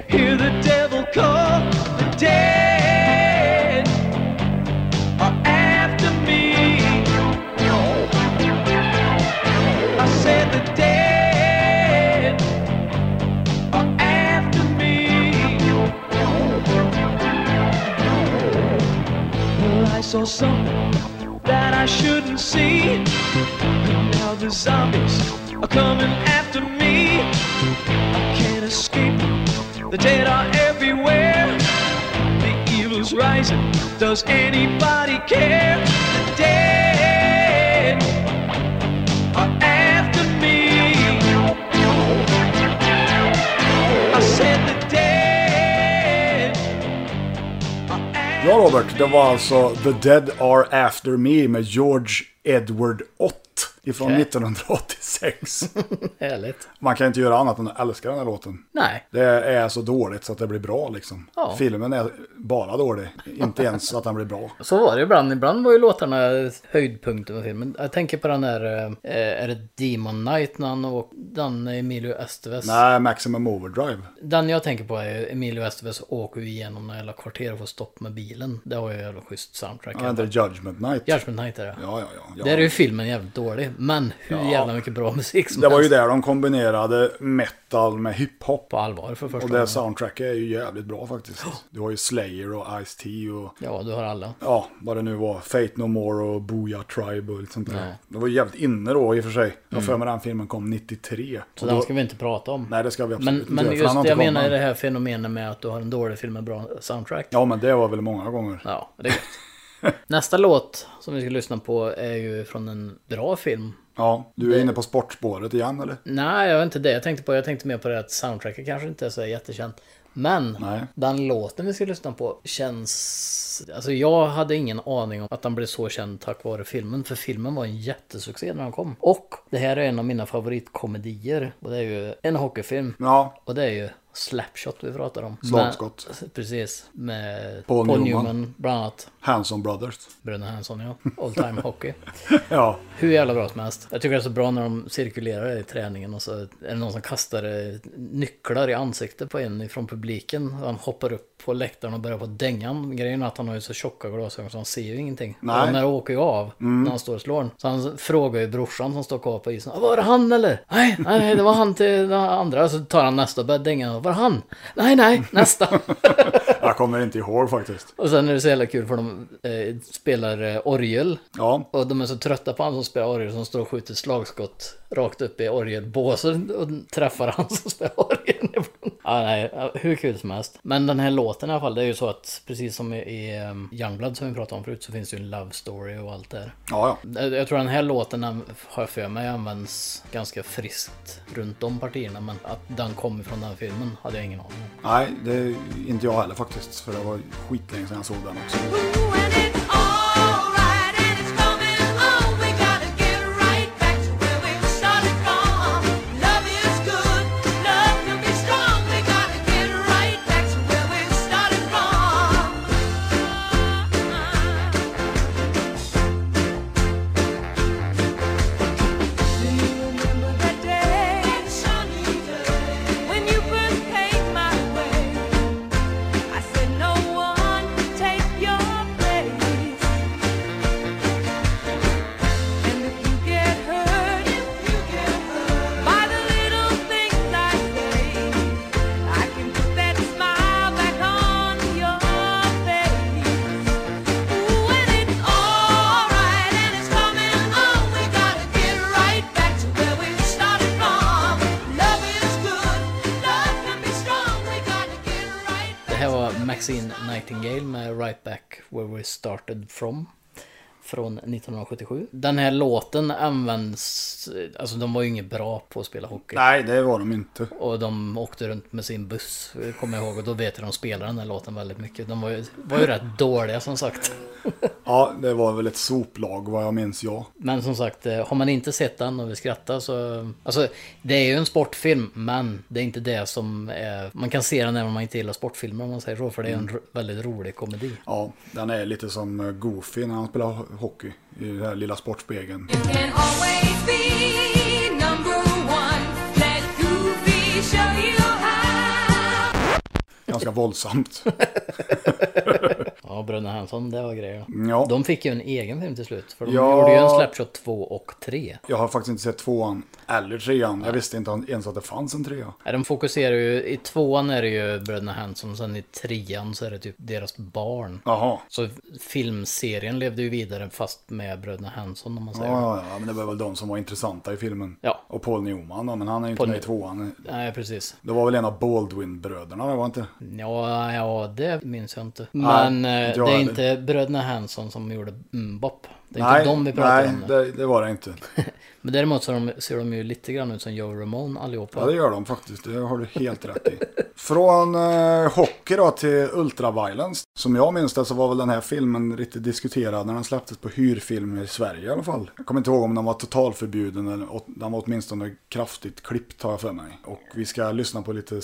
Speaker 10: Hear the devil call. The dead are after me. I said the dead are after me. Well, I saw something that I shouldn't see. And now the zombies are coming after me. I can't escape them. The dead are everywhere. The evil's rising. Does anybody care? The dead are after me. I said the dead.
Speaker 2: Ja Robert, det var alltså The Dead Are After Me med George Edward Ott ifrån
Speaker 3: Okej.
Speaker 2: 1986.
Speaker 3: Härligt.
Speaker 2: Man kan inte göra annat än att älska den här låten.
Speaker 3: Nej.
Speaker 2: Det är så dåligt så att det blir bra liksom.
Speaker 3: Ja.
Speaker 2: Filmen är bara dålig, inte ens så att den blir bra.
Speaker 3: Så var det ibland. Ibland var ju låtarna höjdpunkten med filmen. Jag tänker på den där, eh, är det Demon Knight när han och den Emilio Estevez?
Speaker 2: Nej, Maximum Overdrive.
Speaker 3: Den jag tänker på är ju Emilio Estevez åker ju igenom några jävla kvarter och får stopp med bilen. Det har ju jävla schysst soundtrack.
Speaker 2: Den heter Judgment Night.
Speaker 3: Judgment Night är det.
Speaker 2: Ja, ja, ja. ja.
Speaker 3: Där är ju filmen jävligt dålig. Men hur
Speaker 2: Ja.
Speaker 3: jävla mycket bra musik som
Speaker 2: Det var ju
Speaker 3: helst.
Speaker 2: där de kombinerade metal med hiphop.
Speaker 3: På allvar för första
Speaker 2: Och det
Speaker 3: gången.
Speaker 2: soundtracket är ju jävligt bra faktiskt. Du har ju Slayer och Ice-T och
Speaker 3: Ja, du har alla.
Speaker 2: ja, vad det nu var, Fate No More och Booyah Tribe och lite sånt där.
Speaker 3: Ja.
Speaker 2: Det var ju jävligt inne då i och för sig. Jag har
Speaker 3: Mm.
Speaker 2: för mig den filmen kom 93.
Speaker 3: Så
Speaker 2: Och
Speaker 3: den
Speaker 2: då-
Speaker 3: ska vi inte prata om.
Speaker 2: Nej, det ska vi
Speaker 3: Men,
Speaker 2: absolut
Speaker 3: men
Speaker 2: inte göra, för den har
Speaker 3: just det
Speaker 2: inte
Speaker 3: jag
Speaker 2: kommit
Speaker 3: menar är
Speaker 2: än.
Speaker 3: det här fenomenet med att du har en dålig film med bra soundtrack.
Speaker 2: Ja, men det var väl många gånger.
Speaker 3: Ja,
Speaker 2: [laughs]
Speaker 3: det är gött. Nästa låt som vi ska lyssna på är ju från en bra film.
Speaker 2: Ja, du är
Speaker 3: Det-
Speaker 2: inne på sportspåret igen eller?
Speaker 3: Nej, jag vet inte det. Jag tänkte, på, jag tänkte mer på det att soundtracket kanske inte är så jättekänt. Men
Speaker 2: Nej.
Speaker 3: den låten vi ska lyssna på känns... Alltså jag hade ingen aning om att den blev så känd tack vare filmen. För filmen var en jättesuccé när den kom. Och det här är en av mina favoritkomedier. Och det är ju en hockeyfilm.
Speaker 2: Ja.
Speaker 3: Och det är ju Slapshot vi pratar om.
Speaker 2: Slagskott.
Speaker 3: Med, precis. Med
Speaker 2: Paul
Speaker 3: Paul, Newman.
Speaker 2: Newman.
Speaker 3: bland annat.
Speaker 2: Hanson Brothers. [laughs]
Speaker 3: Bröderna Hansson ja. All time hockey.
Speaker 2: Ja.
Speaker 3: Hur jävla bra som helst. Jag tycker det är så bra när de cirkulerar i träningen och så är det någon som kastar eh, nycklar i ansiktet på en från publiken. Han hoppar upp på läktaren och börjar på dängan. Grejen är att han har ju så tjocka glasögon så han ser ju ingenting.
Speaker 2: Nej.
Speaker 3: Och de här åker ju av
Speaker 2: Mm.
Speaker 3: när han står och slår den. Så han frågar ju brorsan som står kvar på isen. "Ah, Var det han eller? Nej, nej, nej, det var han till den andra. Så tar han nästa och börjar dänga. Var det han? Nej, nej, nästa. [laughs]
Speaker 2: Jag kommer inte ihåg faktiskt.
Speaker 3: Och sen är det så jävla kul för de eh, spelar eh, orgel.
Speaker 2: Ja.
Speaker 3: Och de är så trötta på han som spelar orgel som står och skjuter slagskott rakt upp i orgelbåsen och träffar han som spelar orgeln. [laughs] ja, nej, ja, hur kul som helst. Men den här låten i alla fall, det är ju så att precis som i, i eh, Youngblood som vi pratade om förut så finns det ju en love story och allt det här.
Speaker 2: Ja,
Speaker 3: Jag jag tror den här låten den har jag för mig används ganska friskt runt de partierna men att den kommer från den filmen hade jag ingen aning om.
Speaker 2: Nej, det är inte jag heller faktiskt. För det var skitlänge sedan jag såg den också.
Speaker 10: Oh, When you burn
Speaker 3: Maxine Nightingale med Right Back Where We Started From. Från 1977. Den här låten används... Alltså de var ju inget bra på att spela hockey.
Speaker 2: Nej, det var de inte.
Speaker 3: Och de åkte runt med sin buss, kommer jag ihåg. Och då vet jag de spelade den här låten väldigt mycket. De var ju, var ju rätt dåliga som sagt.
Speaker 2: Ja, det var väl ett soplag vad jag minns jag.
Speaker 3: Men som sagt, eh, har man inte sett den och vill skratta så... Alltså, det är ju en sportfilm, men det är inte det som är... Man kan se den även om man inte gillar sportfilmer om man säger så, för det är en
Speaker 2: Mm.
Speaker 3: ro- väldigt rolig komedi.
Speaker 2: Ja, den är lite som eh, Goofy när han spelar ho- hockey i den här lilla sportspegeln.
Speaker 10: Can always be number one. Let Goofy show you how.
Speaker 2: Ganska våldsamt.
Speaker 3: Ja, Bröderna Hansson, det var grejer.
Speaker 2: Mm, Ja.
Speaker 3: De fick ju en egen film till slut, för de
Speaker 2: Ja.
Speaker 3: gjorde ju en Slapshot 2 och 3.
Speaker 2: Jag har faktiskt inte sett tvåan eller trean. Jag visste inte ens att det fanns en trea.
Speaker 3: Nej, De fokuserar ju, i tvåan är det ju Bröderna Hansson, sen i trean så är det typ deras barn.
Speaker 2: Jaha.
Speaker 3: Så filmserien levde ju vidare fast med Bröderna Hansson om man
Speaker 2: Ja,
Speaker 3: säger. så.
Speaker 2: ja, ja, men det var väl de som var intressanta i filmen.
Speaker 3: Ja.
Speaker 2: Och Paul Newman då, men han är ju inte
Speaker 3: Paul
Speaker 2: med i
Speaker 3: New-
Speaker 2: tvåan.
Speaker 3: Nej, precis.
Speaker 2: Det var väl en av Baldwin-bröderna, det var inte?
Speaker 3: Ja, ja, det minns jag inte.
Speaker 2: Nej,
Speaker 3: Men eh,
Speaker 2: inte
Speaker 3: det
Speaker 2: jag
Speaker 3: är
Speaker 2: heller.
Speaker 3: inte bröderna Hansson som gjorde Mbop. Det är
Speaker 2: nej,
Speaker 3: inte dem vi pratar
Speaker 2: nej,
Speaker 3: om nu.
Speaker 2: det, det var det inte.
Speaker 3: Men däremot så de, ser de ju lite grann ut som Joe Ramone allihopa.
Speaker 2: Ja, det gör de faktiskt. Det har du helt rätt
Speaker 3: [laughs]
Speaker 2: i. Från eh, hockey då till ultraviolence. Som jag minns det så var väl den här filmen riktigt diskuterad när den släpptes på hyrfilm i Sverige i alla fall. Jag kommer inte ihåg om den var totalförbjuden eller åt- den var åtminstone kraftigt klippt har jag för mig. Och vi ska lyssna på lite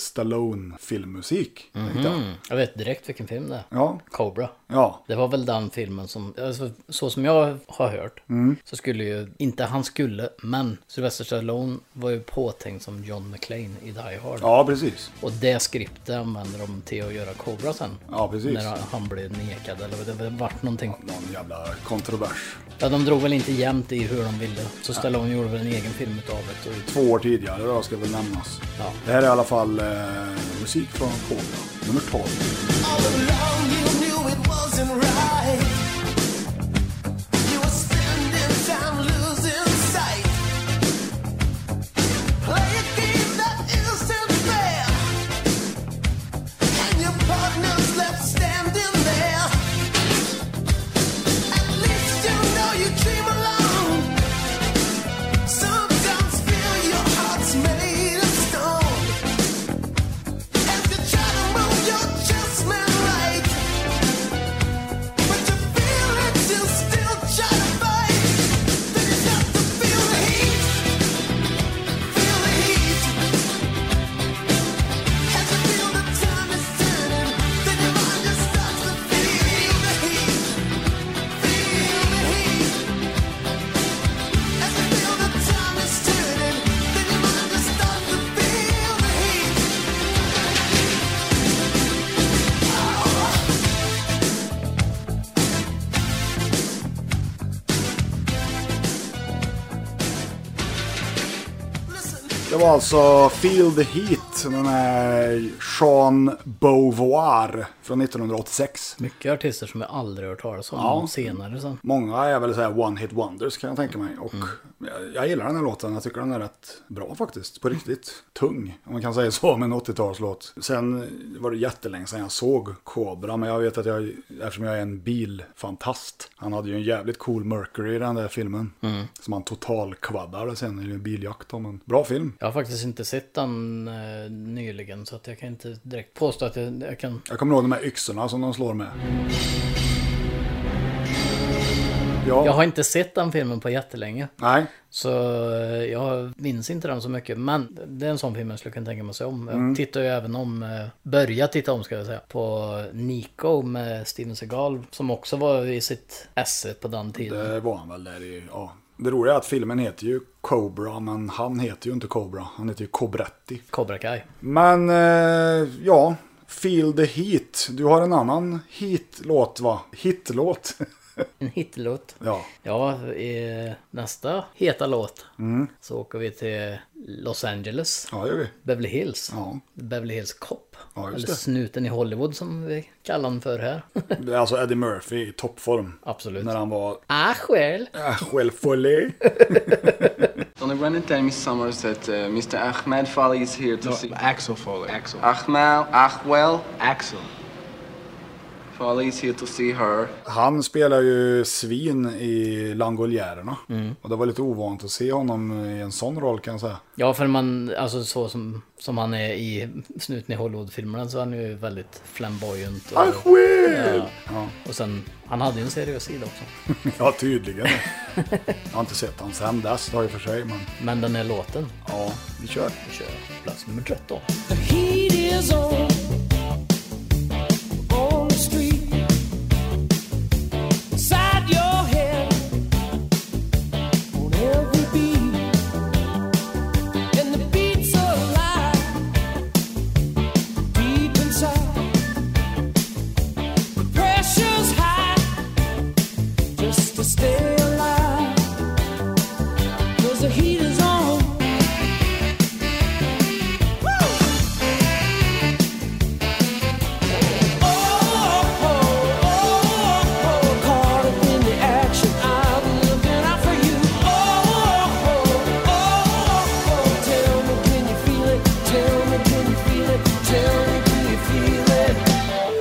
Speaker 2: Stallone-filmmusik. tänkte jag.
Speaker 3: Mhm. Jag vet direkt vilken film det är.
Speaker 2: Ja.
Speaker 3: Cobra.
Speaker 2: Ja.
Speaker 3: Det var väl den filmen som, alltså, så som jag har hört,
Speaker 2: Mm.
Speaker 3: så skulle ju, inte han skulle, men Sylvester Stallone var ju påtänkt som John McClane i Die Hard.
Speaker 2: Ja, precis.
Speaker 3: Och det skriptet använder de till att göra Cobra sen.
Speaker 2: Ja, precis.
Speaker 3: När han- han blev nekad eller det det vart någonting.
Speaker 2: Någon jävla kontrovers.
Speaker 3: Ja, de drog väl inte jämnt i hur de ville. Så Stallone gjorde väl en egen film utav det. Och...
Speaker 2: Två år tidigare då ska väl nämnas.
Speaker 3: Ja.
Speaker 2: Det här är i alla fall eh, musik från Cobra, nummer 12.
Speaker 10: All along you knew it wasn't right. You were spending time losing sight. Play a game that isn't fair. And your partner's left standing there. At least you know you dream alone. Sometimes feel your heart's made of stone. As you try to move your judgment right, but you feel it, you still try to fight. Then you got to feel the heat, feel the heat. As you feel the time is turning, then your mind just starts to feel the heat, feel the heat. As you feel the time is turning, then your mind just starts to feel the heat.
Speaker 2: Det var alltså Feel the Heat, den här Jean Beauvoir från 1986.
Speaker 3: Mycket artister som jag aldrig hört talas om
Speaker 2: Ja.
Speaker 3: senare sen.
Speaker 2: Många är väl så här One Hit Wonders kan jag tänka mig. Och jag, jag gillar den här låten, jag tycker den är rätt bra faktiskt. På riktigt. Tung, om man kan säga så, men 80-talslåt. Sen var det jättelänge sedan jag såg Cobra, men jag vet att jag, eftersom jag är en bilfantast, han hade ju en jävligt cool Mercury i den där filmen. Som han totalkvaddade sen i en biljakt om. Men bra film.
Speaker 3: Jag har faktiskt inte sett den eh, nyligen så att jag kan inte direkt påstå att jag, jag kan...
Speaker 2: Jag kommer ihåg de här yxorna som de slår med. Ja.
Speaker 3: Jag har inte sett den filmen på jättelänge.
Speaker 2: Nej.
Speaker 3: Så eh, jag minns inte den så mycket. Men det är en sån film jag skulle kunna tänka mig att se om. Jag
Speaker 2: Mm.
Speaker 3: tittar ju även om, eh, börjar titta om ska jag säga, på Nico med Steven Seagal. Som också var i sitt esse på den tiden.
Speaker 2: Det var han väl där i, ja. Det roliga är att filmen heter ju Cobra, men han heter ju inte Cobra. Han heter ju Cobretti.
Speaker 3: Cobra Kai.
Speaker 2: Men, eh, ja. Feel the Heat. Du har en annan Heat-låt, va? Hit-låt. [laughs]
Speaker 3: En hitlåt.
Speaker 2: ja.
Speaker 3: Ja, i nästa heta låt
Speaker 2: Mm.
Speaker 3: så åker vi till Los Angeles.
Speaker 2: Ja, det gör vi.
Speaker 3: Beverly Hills.
Speaker 2: Ja.
Speaker 3: Beverly Hills Cop.
Speaker 2: Ja, just
Speaker 3: Eller
Speaker 2: det.
Speaker 3: snuten i Hollywood som vi kallar den
Speaker 2: [laughs]
Speaker 3: för här.
Speaker 2: Det är alltså Eddie Murphy i toppform.
Speaker 3: Absolut.
Speaker 2: När han var...
Speaker 3: Ah, själv.
Speaker 2: Ah, själv fully.
Speaker 15: Only Brendan tell me Summers that uh, Mr. Ahmed Foley is here to see. Axel Foley. Axel. Ahmed, Ahwell. Axel. Polly's here to see her.
Speaker 2: Han spelar ju svin i Langoljärerna.
Speaker 3: Mm.
Speaker 2: Och det var lite ovant att se honom i en sån roll kan jag säga.
Speaker 3: Ja, för man, alltså så som, som han är i snuten i Hollywood-filmerna så är han ju väldigt flamboyant. Och,
Speaker 2: Han själv!
Speaker 3: Ja. Och sen, han hade ju en seriös sida också.
Speaker 2: Ja, tydligen. Jag har inte sett han sen dess, då i och för sig. Men...
Speaker 3: men den är låten.
Speaker 2: Ja, vi kör.
Speaker 3: Vi kör. Plats nummer 13.
Speaker 10: Heat is on on the street. Inside your head, on every beat, and the beats alive deep inside. The pressure's high just to stay alive. 'Cause the heat is on.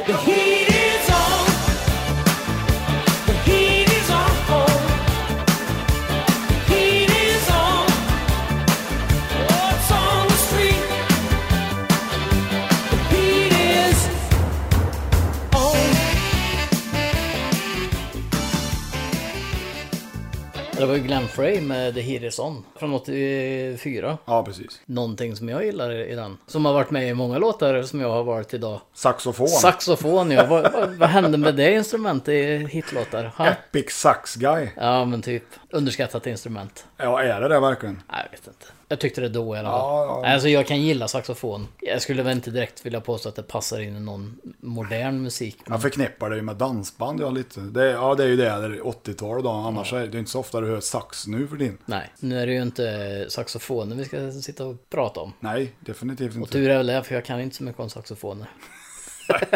Speaker 10: The heat is on. The heat is on. The heat is on. Oh, it's on the street. The heat is on.
Speaker 3: Det var ju Glenn Frey med The Heat Is On från 84.
Speaker 2: Ja, precis.
Speaker 3: Någonting som jag gillar i den. Som har varit med i många låtar som jag har varit idag.
Speaker 2: Saxofon.
Speaker 3: Saxofon ja. vad, vad, vad hände med det instrumentet i hitlåtar? Ha?
Speaker 2: Epic Sax Guy.
Speaker 3: Ja men typ. Underskattat instrument.
Speaker 2: Ja, är det det verkligen?
Speaker 3: Nej, jag vet inte. Jag tyckte det då i alla fall.
Speaker 2: Ja, ja.
Speaker 3: Alltså jag kan gilla saxofon. Jag skulle väl inte direkt vilja påstå att det passar in i någon modern musik.
Speaker 2: Jag förknippar det ju med dansband, ja lite. Det, ja, det är ju det, det är 80-tal då. Annars är det inte så ofta du hör sax nu för din.
Speaker 3: Nej, nu är det ju inte saxofoner vi ska sitta och prata om.
Speaker 2: Nej, definitivt
Speaker 3: Och
Speaker 2: inte.
Speaker 3: tur är väl det, för jag kan inte så mycket om saxofoner.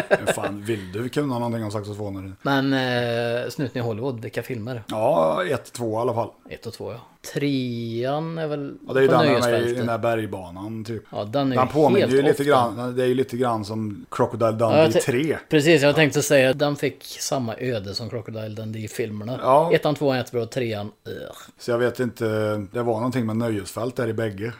Speaker 2: Hur fan vill du kunna någonting om saxofoner?
Speaker 3: Men eh, Snuten i Hollywood, vilka filmer?
Speaker 2: Ja, 1-2 i alla fall.
Speaker 3: Ett och två ja. Trean är väl
Speaker 2: Ja, det är ju
Speaker 3: på
Speaker 2: den här med i
Speaker 3: nöjesfältet.
Speaker 2: den där bergbanan typ.
Speaker 3: Ja, den är
Speaker 2: Den
Speaker 3: ju
Speaker 2: påminner
Speaker 3: helt
Speaker 2: ju lite
Speaker 3: off,
Speaker 2: grann, det är ju lite grann som Crocodile
Speaker 3: Ja, jag
Speaker 2: Dundee
Speaker 3: te-
Speaker 2: 3.
Speaker 3: Precis, jag tänkte säga att den fick samma öde som Crocodile Dundee-filmerna.
Speaker 2: Ja.
Speaker 3: Ettan, tvåan jättebra, trean... ugh.
Speaker 2: Så jag vet inte, det var någonting med nöjesfält där i bägge.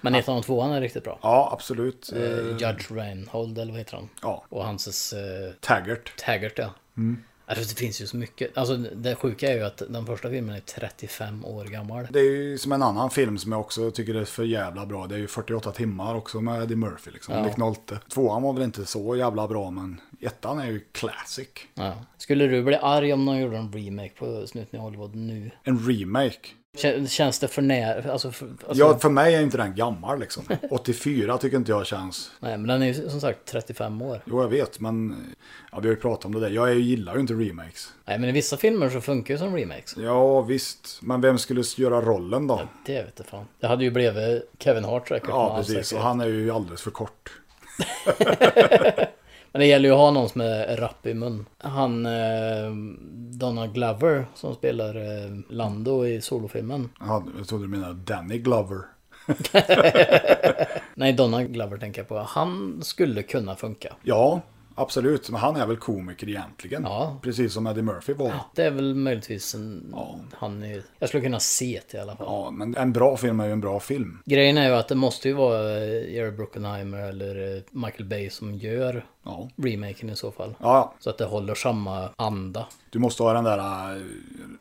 Speaker 3: Men ettan och tvåan är riktigt bra.
Speaker 2: Ja, absolut.
Speaker 3: Mm. Eh,
Speaker 2: Eh,
Speaker 3: Judge Reinhold, eller vad heter han?
Speaker 2: Ja.
Speaker 3: Och hans... Eh,
Speaker 2: Taggart.
Speaker 3: Taggart, ja.
Speaker 2: Mm.
Speaker 3: Alltså, det finns ju så mycket. Alltså, det sjuka är ju att den första filmen är 35 år gammal.
Speaker 2: Det är ju som en annan film som jag också tycker är för jävla bra. Det är ju 48 timmar också med Eddie Murphy liksom.
Speaker 3: Ja.
Speaker 2: Ja. Knollte. Tvåan var väl inte så jävla bra men ettan är ju classic.
Speaker 3: Ja. Skulle du bli arg om någon gjorde en remake på Snuten i Hollywood nu?
Speaker 2: En remake.
Speaker 3: Kän- Känns det för nära? Alltså, för, alltså,
Speaker 2: Ja, för mig är ju inte den gammal liksom. [laughs] 84 tycker inte jag känns.
Speaker 3: Nej, men den är ju som sagt 35 år.
Speaker 2: Jo, jag vet men ja, vi har ju pratat om det där. Jag gillar ju inte remakes.
Speaker 3: Nej, men i vissa filmer så funkar ju som remakes.
Speaker 2: Ja, visst. Men vem skulle göra rollen då?
Speaker 3: Det vet jag fan. Det hade ju blivit Kevin Hart säkert. med
Speaker 2: Ja,
Speaker 3: all
Speaker 2: precis. Och
Speaker 3: säkerhet.
Speaker 2: han är ju alldeles för kort.
Speaker 3: Men det gäller ju att ha någon som är rapp i mun. Han, eh, Donald Glover, som spelar eh, Lando i solofilmen.
Speaker 2: Han, jag trodde du menade Danny Glover.
Speaker 3: Nej, Donald Glover tänker jag på. Han skulle kunna funka.
Speaker 2: Ja, absolut. Men han är väl komiker egentligen.
Speaker 3: Ja.
Speaker 2: Precis som Eddie Murphy var. Ja.
Speaker 3: Det är väl möjligtvis en... Han är, jag skulle kunna se det i alla fall.
Speaker 2: men en bra film är ju en bra film.
Speaker 3: Grejen är ju att det måste ju vara eh, Jerry Bruckheimer eller eh, Michael Bay som gör
Speaker 2: Ja.
Speaker 3: remaken i så fall.
Speaker 2: Ja,
Speaker 3: Så att det håller samma anda.
Speaker 2: du måste ha den där äh,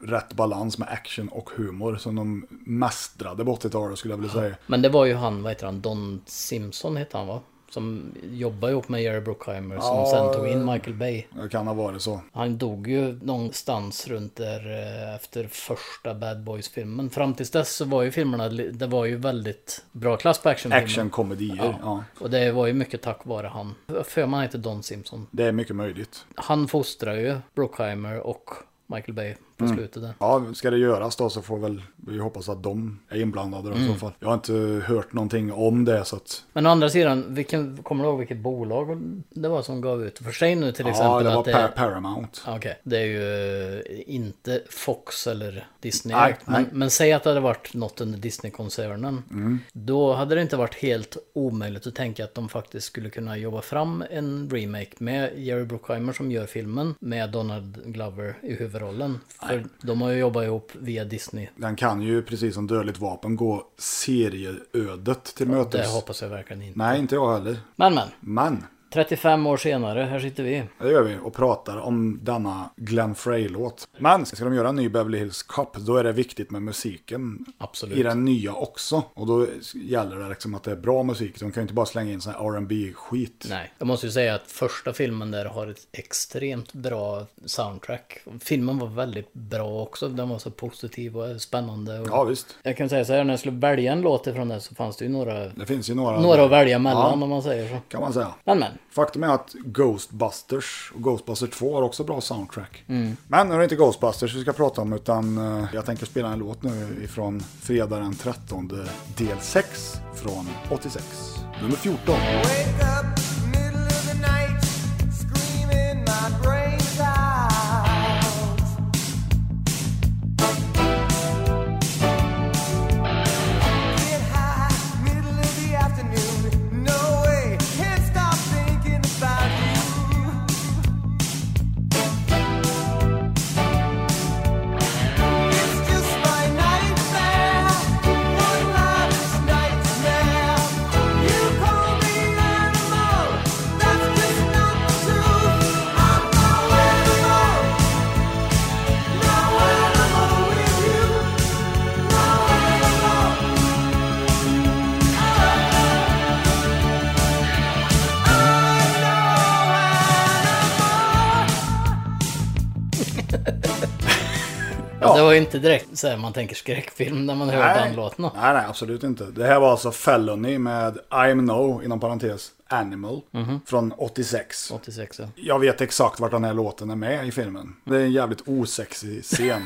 Speaker 2: rätt balans med action och humor som de mästrade på 80-talet skulle jag vilja säga.
Speaker 3: Men det var ju han, vad heter han, Don Simpson heter han va? Som jobbade ihop med Jerry Bruckheimer som
Speaker 2: Ja,
Speaker 3: sen tog in Michael Bay.
Speaker 2: Det kan ha varit så.
Speaker 3: Han dog ju någonstans runt där eh, efter första Bad Boys-filmen. Fram tills dess så var ju filmerna, li- det var ju väldigt bra klass på actionfilmer.
Speaker 2: Actionkomedier, ja. ja.
Speaker 3: Och det var ju mycket tack vare han. För man heter Don Simpson.
Speaker 2: Det är mycket möjligt.
Speaker 3: Han fostrar ju Bruckheimer och Michael Bay på
Speaker 2: Mm.
Speaker 3: slutet där.
Speaker 2: Ja, ska det göras då så får väl vi hoppas att de är inblandade då, i
Speaker 3: Mm.
Speaker 2: så fall. Jag har inte hört någonting om det så att...
Speaker 3: Men å andra sidan, vilken, kommer du ihåg vilket bolag det var som gav ut? För sig nu till
Speaker 2: Ja,
Speaker 3: exempel
Speaker 2: det var
Speaker 3: att
Speaker 2: Pa- Paramount.
Speaker 3: Ja, Okej, det är ju eh, inte Fox eller Disney.
Speaker 2: Nej,
Speaker 3: direkt, men,
Speaker 2: nej.
Speaker 3: men säg att det hade varit något under Disney-koncernen.
Speaker 2: Mm.
Speaker 3: Då hade det inte varit helt omöjligt att tänka att de faktiskt skulle kunna jobba fram en remake med Jerry Bruckheimer som gör filmen med Donald Glover i huvudrollen. För de har ju jobbat ihop via Disney.
Speaker 2: Den kan ju precis som Dödligt Vapen gå serieödet till mötes.
Speaker 3: det hoppas jag verkligen inte.
Speaker 2: Nej, inte jag heller.
Speaker 3: Men men,
Speaker 2: Men,
Speaker 3: 35 år senare, här sitter vi.
Speaker 2: det gör vi och pratar om denna Glenn Frey-låt. Men, ska de göra en ny Beverly Hills Cop, då är det viktigt med musiken.
Speaker 3: Absolut.
Speaker 2: I den nya också. Och då gäller det liksom att det är bra musik. De kan ju inte bara slänga in sån här rb skit
Speaker 3: Nej, jag måste ju säga att första filmen där har ett extremt bra soundtrack. Filmen var väldigt bra också. Den var så positiv och spännande. Och
Speaker 2: Ja, visst.
Speaker 3: Jag kan säga så här, när jag skulle välja en låt ifrån det så fanns det ju några,
Speaker 2: Det finns ju några...
Speaker 3: några att välja mellan
Speaker 2: Ja.
Speaker 3: om man säger så.
Speaker 2: Kan man säga.
Speaker 3: Men men.
Speaker 2: Faktum är att Ghostbusters och Ghostbusters 2 har också bra soundtrack.
Speaker 3: Mm.
Speaker 2: Men nu är det inte Ghostbusters vi ska prata om utan eh, jag tänker spela en låt nu ifrån fredag den 13 del 6 från 86. Nummer 14.
Speaker 10: Wake up, middle of the night, screaming my brains out. Get high, middle of the afternoon. No way, can't stop thinking about you. It's just my nightmare, one last nightmare. You call me animal, that's just not true. I'm no animal, no animal with you, no animal.
Speaker 3: Ja. Det var ju inte direkt så här, man tänker skräckfilm när man hör den låten.
Speaker 2: nej, nej, absolut inte. Det här var alltså Felony med I'm No, inom parentes, Animal,
Speaker 3: Mhm.
Speaker 2: från 86.
Speaker 3: 86, ja.
Speaker 2: Jag vet exakt vart den här låten är med i filmen. Det är en jävligt osexig scen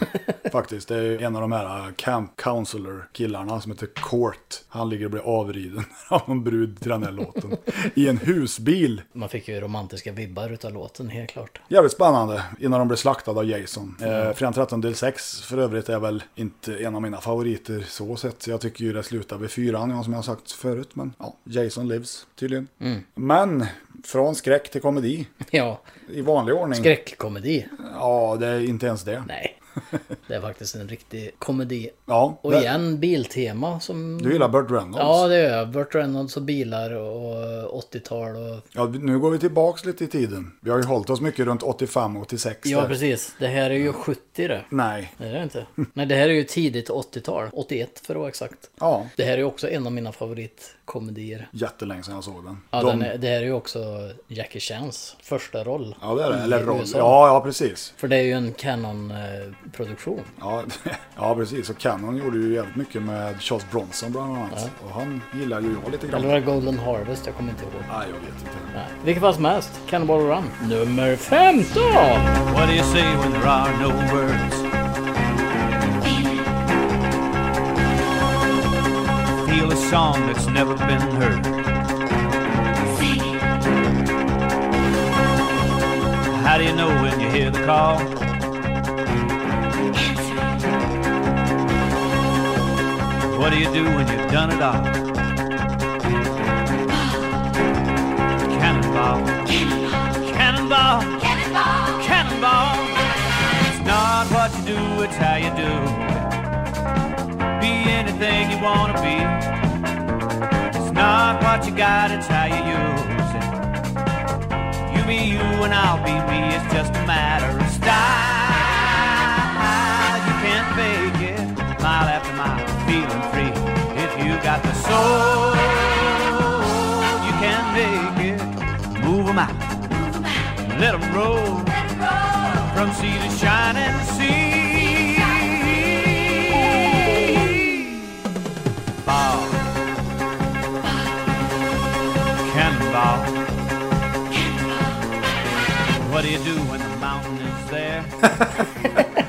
Speaker 2: faktiskt. Det är en av de här äh, camp counselor killarna som heter Court. Han ligger och blir avriden [laughs] av en brud till den här låten. I en husbil.
Speaker 3: Man fick ju romantiska vibbar utav låten, helt klart. [laughs]
Speaker 2: Jävligt spännande innan de blir slaktade av Jason. Eh, Fredagen 13 del 6 för övrigt är väl inte en av mina favoriter så sett. Jag tycker ju det slutar vid fyran, ja, som jag har sagt förut. Men ja, Jason lives tydligen.
Speaker 3: Mm.
Speaker 2: Men från skräck till komedi.
Speaker 3: Ja.
Speaker 2: I vanlig ordning.
Speaker 3: Skräckkomedi.
Speaker 2: Ja, det är inte ens det. [laughs]
Speaker 3: Nej. Det är faktiskt en riktig komedi.
Speaker 2: Ja,
Speaker 3: Och
Speaker 2: det-
Speaker 3: igen, biltema som...
Speaker 2: Du gillar Burt Reynolds.
Speaker 3: Ja, det gör jag. Burt Reynolds och bilar och 80-tal och...
Speaker 2: Ja, nu går vi tillbaks lite i tiden. Vi har ju hållit oss mycket runt 85 och 86.
Speaker 3: Ja,
Speaker 2: där.
Speaker 3: precis. Det här är ju 70 det.
Speaker 2: Nej.
Speaker 3: Det är det inte. Nej, det här är ju tidigt 80-tal. 81 för att vara exakt.
Speaker 2: Ja.
Speaker 3: Det här är ju också en av mina favoritkomedier.
Speaker 2: Jättelänge sedan jag såg den.
Speaker 3: Ja,
Speaker 2: De-
Speaker 3: den är, det här är ju också Jackie Chans första roll.
Speaker 2: Ja, det är det.
Speaker 3: i
Speaker 2: Eller roll.
Speaker 3: USA.
Speaker 2: Ja, ja, precis.
Speaker 3: För det är ju en Canon-produktion.
Speaker 2: Ja, [laughs] ja, precis. Och Cannon gjorde ju jävligt mycket med Charles Bronson bland annat. Och han gillar ju jag lite grann.
Speaker 3: Eller var det Golden Harvest? Jag kommer inte ihåg.
Speaker 2: Nej, jag vet inte.
Speaker 3: Nej. Vilket fall som helst, Cannonball Run. Nummer 15!
Speaker 16: What do you say when there are no words? Feel a song that's never been heard. How do you know when you hear the call? What do you do when you've done it all? Cannonball. Cannonball. Cannonball. Cannonball. It's not what you do, it's how you do it. Be anything you wanna be. It's not what you got, it's how you use it. You be you and I'll be me. It's just a matter of style. You can't fake it. Mile after mile, feeling free. If you got the soul, you can make it. Move 'em out. Let 'em roll. From sea to shining sea. Ball. Cannonball. What do you do when the mountain is there?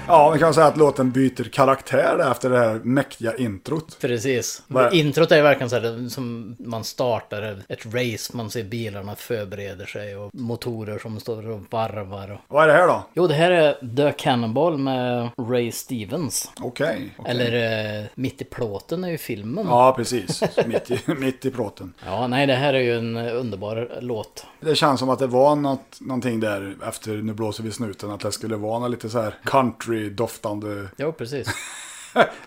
Speaker 2: Ja, man kan säga att låten byter karaktär efter det här mäktiga introt.
Speaker 3: Precis.
Speaker 2: Vad-
Speaker 3: Introt är ju verkligen så här som man startar ett race, man ser bilarna förbereder sig och motorer som står och varvar. Och...
Speaker 2: Vad är det här då?
Speaker 3: Jo, det här är The Cannonball med Ray Stevens.
Speaker 2: Okej. okej.
Speaker 3: Eller eh, Mitt i plåten är ju filmen.
Speaker 2: Ja, precis. Mitt i, [laughs] mitt i plåten.
Speaker 3: Ja, nej, det här är ju en eh, underbar låt.
Speaker 2: Det känns som att det var något, någonting där efter Nu blåser vi snuten, att det skulle vara något lite så här country-doftande.
Speaker 3: Jo, precis.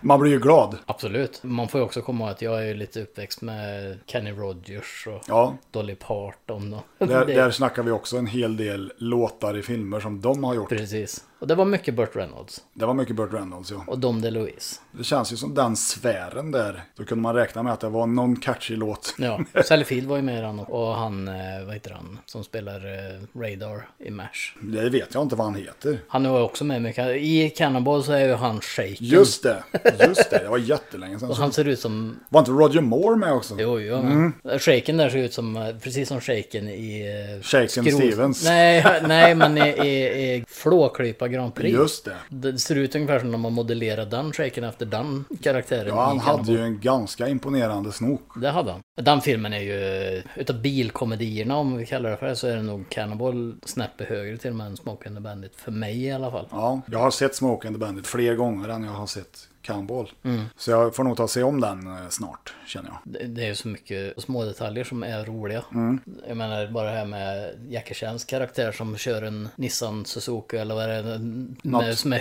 Speaker 2: Man blir ju glad.
Speaker 3: [laughs] Absolut. Man får ju också komma ihåg att jag är ju lite uppväxt med Kenny Rogers och
Speaker 2: Ja.
Speaker 3: Dolly Parton. Och
Speaker 2: Där,
Speaker 3: [laughs] Det-
Speaker 2: där snackar vi också en hel del låtar i filmer som de har gjort.
Speaker 3: Precis. Och det var mycket Burt Reynolds.
Speaker 2: Det var mycket Burt Reynolds, ja.
Speaker 3: Och Dom DeLuise.
Speaker 2: Det känns ju som den sfären där. Då kunde man räkna med att det var någon catchy låt.
Speaker 3: Ja, [laughs] Sally Field var ju med i den och- och han, eh, vad heter han, som spelar eh, Radar i MASH.
Speaker 2: Det vet jag inte vad han heter.
Speaker 3: Han var ju också med mycket. I Cannonball så är ju han shaken.
Speaker 2: Just det, just det. Det var jättelänge sedan.
Speaker 3: Och han ser ut som...
Speaker 2: Var inte Roger Moore med också?
Speaker 3: Jo, jo.
Speaker 2: Mm.
Speaker 3: Shaken där ser ut som, eh, precis som shaken i... eh,
Speaker 2: Shaken Stevens. [laughs]
Speaker 3: Nej, nej men i, i, i Flåklypa Grand Prix.
Speaker 2: Just det.
Speaker 3: Det ser ut ungefär som när man modellerar den shaken efter den karaktären.
Speaker 2: Ja, han
Speaker 3: i
Speaker 2: hade
Speaker 3: Cannonball.
Speaker 2: ju en ganska imponerande snok.
Speaker 3: Det hade han. Den filmen är ju, utav bilkomedierna om vi kallar det för det, så är det nog Cannibal snäppet högre till och med än Smoke and the Bandit. För mig i alla fall.
Speaker 2: Ja, jag har sett Smoke and the Bandit fler gånger än jag har sett Cannonball.
Speaker 3: Mm.
Speaker 2: Så jag får nog ta och se om den eh, snart, känner jag.
Speaker 3: Det, det är ju så mycket små detaljer som är roliga.
Speaker 2: Mm.
Speaker 3: Jag menar bara det här med Jackie Chans karaktär som kör en Nissan Suzuki eller vad det är.
Speaker 2: Något.
Speaker 3: Med, som är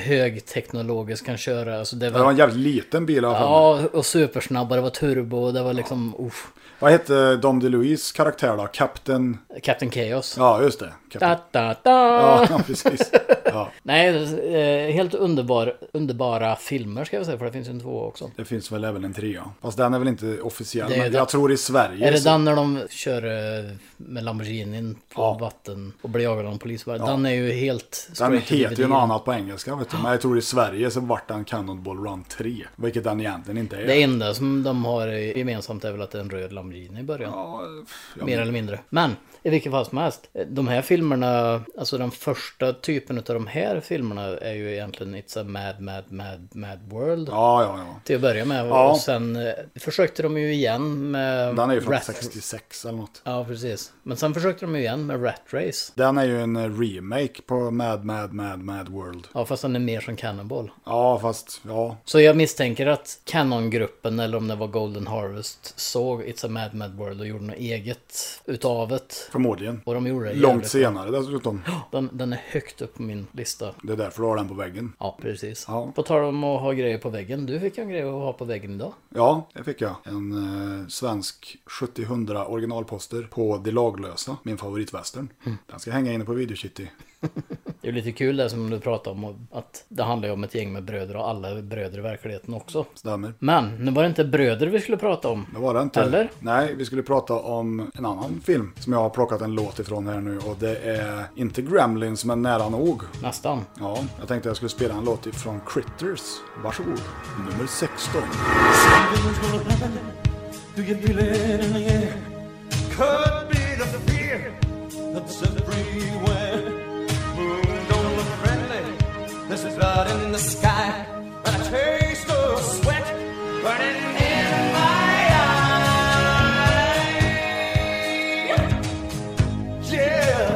Speaker 3: högteknologisk kan köra. Alltså det
Speaker 2: Det var en
Speaker 3: var...
Speaker 2: jävligt liten bil i alla fall.
Speaker 3: Ja, och supersnabba, det var turbo och det var liksom... Uff.
Speaker 2: Vad hette eh, Dom DeLuise karaktär då? Captain...
Speaker 3: Captain Chaos.
Speaker 2: Ja, just det.
Speaker 3: Da,
Speaker 2: Captain...
Speaker 3: da, da.
Speaker 2: Ja, [laughs] precis. Ja.
Speaker 3: Nej, eh, helt underbar, underbara filmer ska jag säga, för det finns ju en två också.
Speaker 2: Det finns väl även en trea. Fast den är väl inte officiell.
Speaker 3: Det är
Speaker 2: Men
Speaker 3: det-
Speaker 2: jag tror i Sverige...
Speaker 3: Är det
Speaker 2: så-
Speaker 3: den när de kör eh, med Lamborghinin på vatten och blir jagade av en polisvärd?
Speaker 2: Ja.
Speaker 3: Den är ju helt...
Speaker 2: Den
Speaker 3: straight to
Speaker 2: heter ju
Speaker 3: DVD.
Speaker 2: något annat på engelska vet du. Men jag tror i Sverige så vart den Cannonball Run 3. Vilket den egentligen inte är.
Speaker 3: Det enda som de har gemensamt är väl att det är en röd Lamborghini i början.
Speaker 2: ja,
Speaker 3: Mer
Speaker 2: men-
Speaker 3: eller mindre. Men i vilket fall som helst, eh, de här filmerna, alltså den första typen av de här filmerna är ju egentligen It's a Mad, Mad, Mad, Mad World.
Speaker 2: Ja, ja, ja.
Speaker 3: Till att börja med.
Speaker 2: Ja.
Speaker 3: Och sen eh, försökte de ju igen med...
Speaker 2: Den är ju från
Speaker 3: Rat-
Speaker 2: 66 eller något.
Speaker 3: Ja, precis. Men sen försökte de ju igen med Rat Race.
Speaker 2: Den är ju en eh, remake på Mad Mad Mad Mad World.
Speaker 3: Ja, fast den är mer som Cannonball.
Speaker 2: Ja, fast ja.
Speaker 3: Så jag misstänker att Canon-gruppen, eller om det var Golden Harvest, såg It's a Mad Mad World och gjorde något eget utav det.
Speaker 2: Förmodligen.
Speaker 3: Och de gjorde det
Speaker 2: Långt
Speaker 3: jävligt bra.
Speaker 2: senare dessutom.
Speaker 3: Den, den är högt upp på min lista.
Speaker 2: Det är därför du har den på väggen.
Speaker 3: Ja, precis.
Speaker 2: Ja,
Speaker 3: På tal om att ha grejer på väggen, du fick ju en grej att ha på väggen idag.
Speaker 2: ja det fick jag. En eh, svensk 70-100 originalposter på De laglösa, min favoritwestern.
Speaker 3: Mm.
Speaker 2: Den ska hänga inne på Videokitty.
Speaker 3: Det är ju lite kul det som du pratade om, att det handlar ju om ett gäng med bröder och alla är bröder i verkligheten också.
Speaker 2: Stämmer.
Speaker 3: Men nu var det inte bröder vi skulle prata om.
Speaker 2: Det var det inte.
Speaker 3: Eller?
Speaker 2: Nej, vi skulle prata om en annan film som jag har plockat en låt ifrån här nu och det är inte Gremlins men nära nog.
Speaker 3: Nästan.
Speaker 2: Ja, jag tänkte jag skulle spela en låt ifrån Critters. Varsågod, nummer 16.
Speaker 10: Something's gonna happen. Do you feel it in the air? Could be the fear that's everywhere. Moon don't look friendly. There's blood in the sky. And a taste of sweat burning in my eye. Yeah.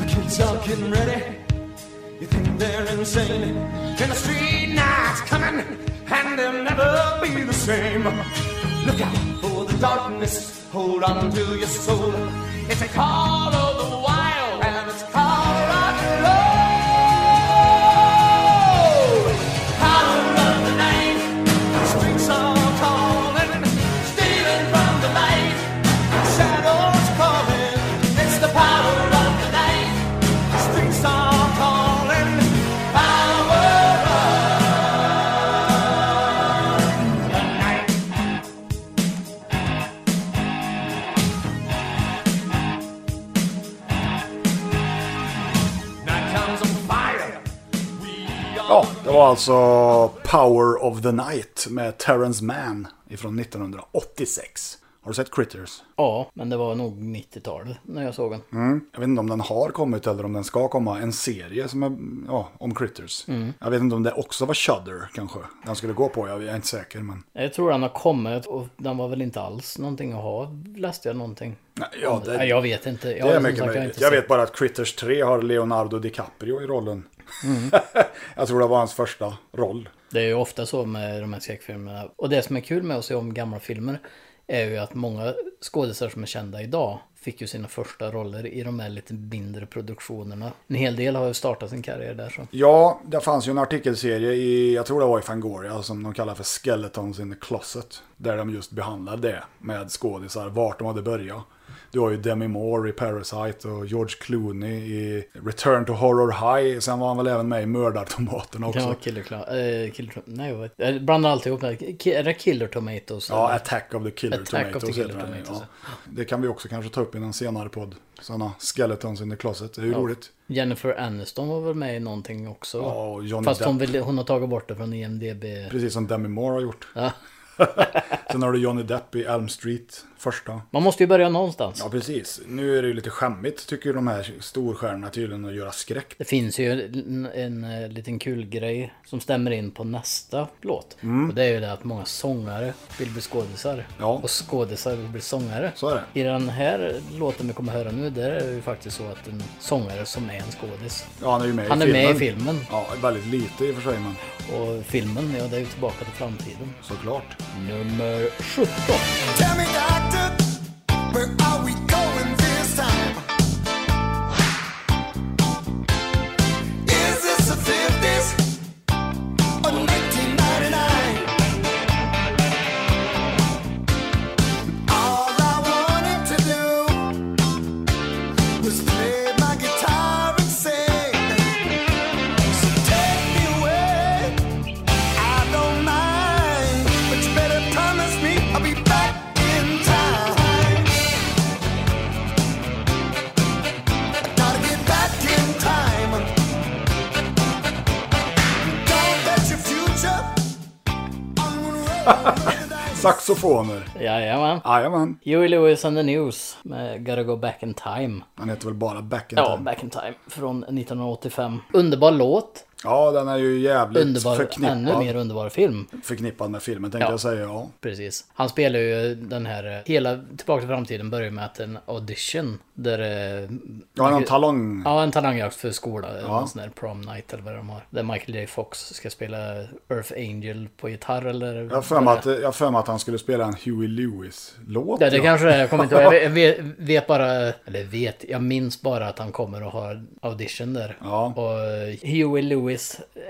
Speaker 10: The kids are getting ready. You think they're insane? And the street night's coming, and they'll never be the same. Look out for the darkness, hold on to your soul. It's a call of the wild, and it's a call rock and roll. Out of the night, the streets are calling, stealing from the light. Shadows calling, it's the power of the night. The streets are calling, power of the night. Night comes on fire.
Speaker 2: Ja, det var alltså Power of the Night med Terrence Mann ifrån 1986. Har du sett Critters?
Speaker 3: Ja, men det var nog 90-talet när jag såg den.
Speaker 2: Mm. Jag vet inte om den har kommit eller om den ska komma. En serie som är, ja, om Critters.
Speaker 3: Mm.
Speaker 2: Jag vet inte om det också var Shudder kanske. Den skulle gå på, jag är inte säker. Men...
Speaker 3: Jag tror den har kommit och den var väl inte alls någonting att ha, läste jag någonting.
Speaker 2: Nej, ja, det-
Speaker 3: Nej, jag vet inte. Jag,
Speaker 2: det är
Speaker 3: som
Speaker 2: mycket
Speaker 3: sagt,
Speaker 2: möjligt.
Speaker 3: jag har
Speaker 2: Jag,
Speaker 3: inte sett-
Speaker 2: vet bara att Critters 3 har Leonardo DiCaprio i rollen.
Speaker 3: Mm.
Speaker 2: [laughs] jag tror det var hans första roll.
Speaker 3: Det är ju ofta så med de här skräckfilmerna. Och det som är kul med att se om gamla filmer är ju att många skådespelare som är kända idag fick ju sina första roller i de här lite mindre produktionerna. En hel del har ju startat sin karriär där så.
Speaker 2: Ja, det fanns ju en artikelserie i, jag tror det var i Fangoria, som de kallar för Skeletons in the Closet. Där de just behandlade det med skådisar, vart de hade börjat. Du har ju Demi Moore i Parasite och George Clooney i Return to Horror High. Sen var han väl även med i Mördartomaterna också.
Speaker 3: Ja, Killer Clown. Eh, killer, Clown. nej, jag, vet, jag blandar alltid ihop med... Ki- Är det Killer Tomatoes?
Speaker 2: Ja, Attack of the Killer
Speaker 3: Attack of the
Speaker 2: Tomatoes
Speaker 3: Killer
Speaker 2: heter den,
Speaker 3: Tomatoes,
Speaker 2: ja. Det kan vi också kanske ta upp i någon senare podd. Sådana Skeletons in the Closet, det är ju
Speaker 3: Ja.
Speaker 2: roligt.
Speaker 3: Jennifer Aniston var väl med i någonting också?
Speaker 2: Ja, och Johnny
Speaker 3: Fast hon,
Speaker 2: Depp.
Speaker 3: vill, hon har tagit bort det från E IMDB.
Speaker 2: Precis som Demi Moore har gjort.
Speaker 3: Ja.
Speaker 2: [laughs] Sen har du Johnny Depp i Elm Street, första.
Speaker 3: Man måste ju börja någonstans.
Speaker 2: Ja, precis. Nu är det ju lite skämmigt, tycker ju de här storstjärnorna tydligen, att göra skräck.
Speaker 3: Det finns ju en, en eh, liten kul grej som stämmer in på nästa låt.
Speaker 2: Mm.
Speaker 3: Och det är ju det att många sångare vill bli skådisar. Och skådisar vill bli sångare.
Speaker 2: Så är det.
Speaker 3: I den här låten vi kommer att höra nu, där är det ju faktiskt så att en sångare som är en skådis.
Speaker 2: Ja, han är ju med
Speaker 3: Han
Speaker 2: i
Speaker 3: är
Speaker 2: filmen.
Speaker 3: med i filmen.
Speaker 2: Ja, väldigt lite i och för sig, men...
Speaker 3: Och filmen, ja det är ju Tillbaka till framtiden.
Speaker 2: Såklart.
Speaker 3: Nummer 17.
Speaker 10: Tell me, doctor, where are we going this time? Is this the 50s or 1999? All I wanted to do was play my guitar and sing. So take me away, I don't mind, but you better promise me I'll be back in time. I gotta get back in time. Don't bet your future.
Speaker 2: Saxofoner.
Speaker 3: Jajamän.
Speaker 2: Jajamän.
Speaker 3: Huey Lewis and the News med Gotta Go Back In Time.
Speaker 2: Han heter väl bara Back in
Speaker 3: ja,
Speaker 2: Time?
Speaker 3: Back In Time från 1985. Underbar låt.
Speaker 2: Ja, den är ju jävligt
Speaker 3: Underbar-
Speaker 2: förknippad.
Speaker 3: ännu mer underbar film.
Speaker 2: Förknippad med filmen, tänkte
Speaker 3: Ja.
Speaker 2: jag säga. Ja.
Speaker 3: Precis. Han spelar ju den här, hela Tillbaka till framtiden börjar med att en audition där... eh,
Speaker 2: Ja, någon talang.
Speaker 3: Ja, en talangjakt för skola.
Speaker 2: Ja.
Speaker 3: Någon sån där prom night eller vad de har. Där Michael J Fox ska spela Earth Angel på gitarr eller...
Speaker 2: Jag har för mig att, jag har för mig att han skulle spela en Huey Lewis-låt.
Speaker 3: Ja, det
Speaker 2: ja.
Speaker 3: kanske det är. Jag kommer inte ihåg. Jag vet, vet bara... Eller vet. Jag minns bara att han kommer och har audition där.
Speaker 2: Ja.
Speaker 3: Och Huey Lewis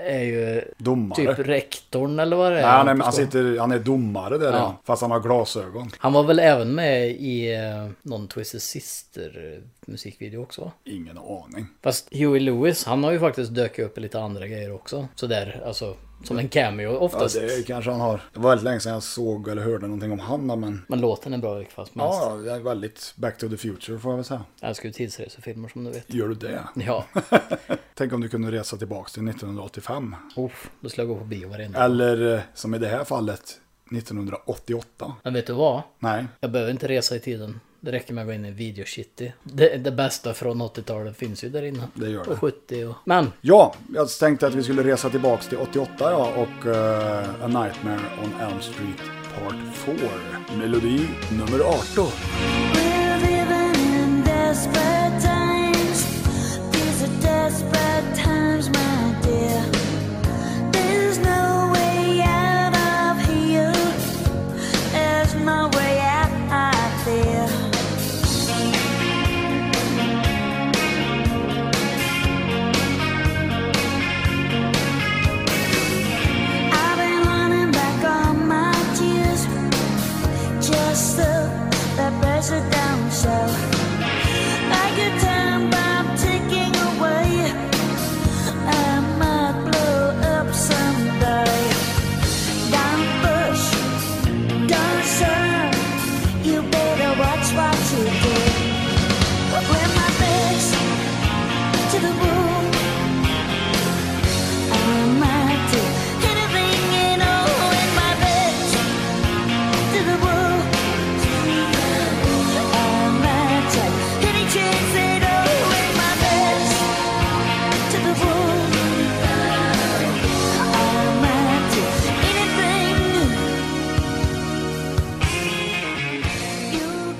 Speaker 3: är ju...
Speaker 2: Domare.
Speaker 3: Typ rektorn eller vad det är.
Speaker 2: Nej, han, är,
Speaker 3: på
Speaker 2: han,
Speaker 3: skolan.
Speaker 2: sitter, han är domare där,
Speaker 3: Ja.
Speaker 2: ja. fast han har glasögon.
Speaker 3: Han var väl även med i eh, någon Twisted Sister eh, musikvideo också va?
Speaker 2: Ingen aning.
Speaker 3: Fast Huey Lewis, han har ju faktiskt dök upp i lite andra grejer också. Sådär, alltså som en cameo oftast.
Speaker 2: Ja, det kanske han har. Det var väldigt länge sedan jag såg eller hörde någonting om han, då, men...
Speaker 3: Men låten är bra i vilket fall som helst.
Speaker 2: Ja, det är väldigt back to the future får jag väl säga.
Speaker 3: Jag älskar ju tidsresefilmer som du vet.
Speaker 2: Gör du det?
Speaker 3: Ja, [laughs]
Speaker 2: Tänk om du kunde resa tillbaka till 1985.
Speaker 3: Uff, då skulle jag gå på bio varenda gång.
Speaker 2: Eller eh, som i det här fallet, 1988.
Speaker 3: Men vet du vad?
Speaker 2: Nej.
Speaker 3: Jag behöver inte resa i tiden. Det räcker med att gå in i Video City. Det, det bästa från 80-talet finns ju där inne.
Speaker 2: Det gör
Speaker 3: Och
Speaker 2: det.
Speaker 3: 70 och... Men!
Speaker 2: Ja, jag tänkte att vi skulle resa tillbaka till 88 ja, och eh, A Nightmare on Elm Street Part 4. Melodi nummer 18.
Speaker 10: We're living in desperate times. These are desperate times, my dear. There's no way out of here. There's no way out, I fear. I've been running back on my tears. Just the, the president.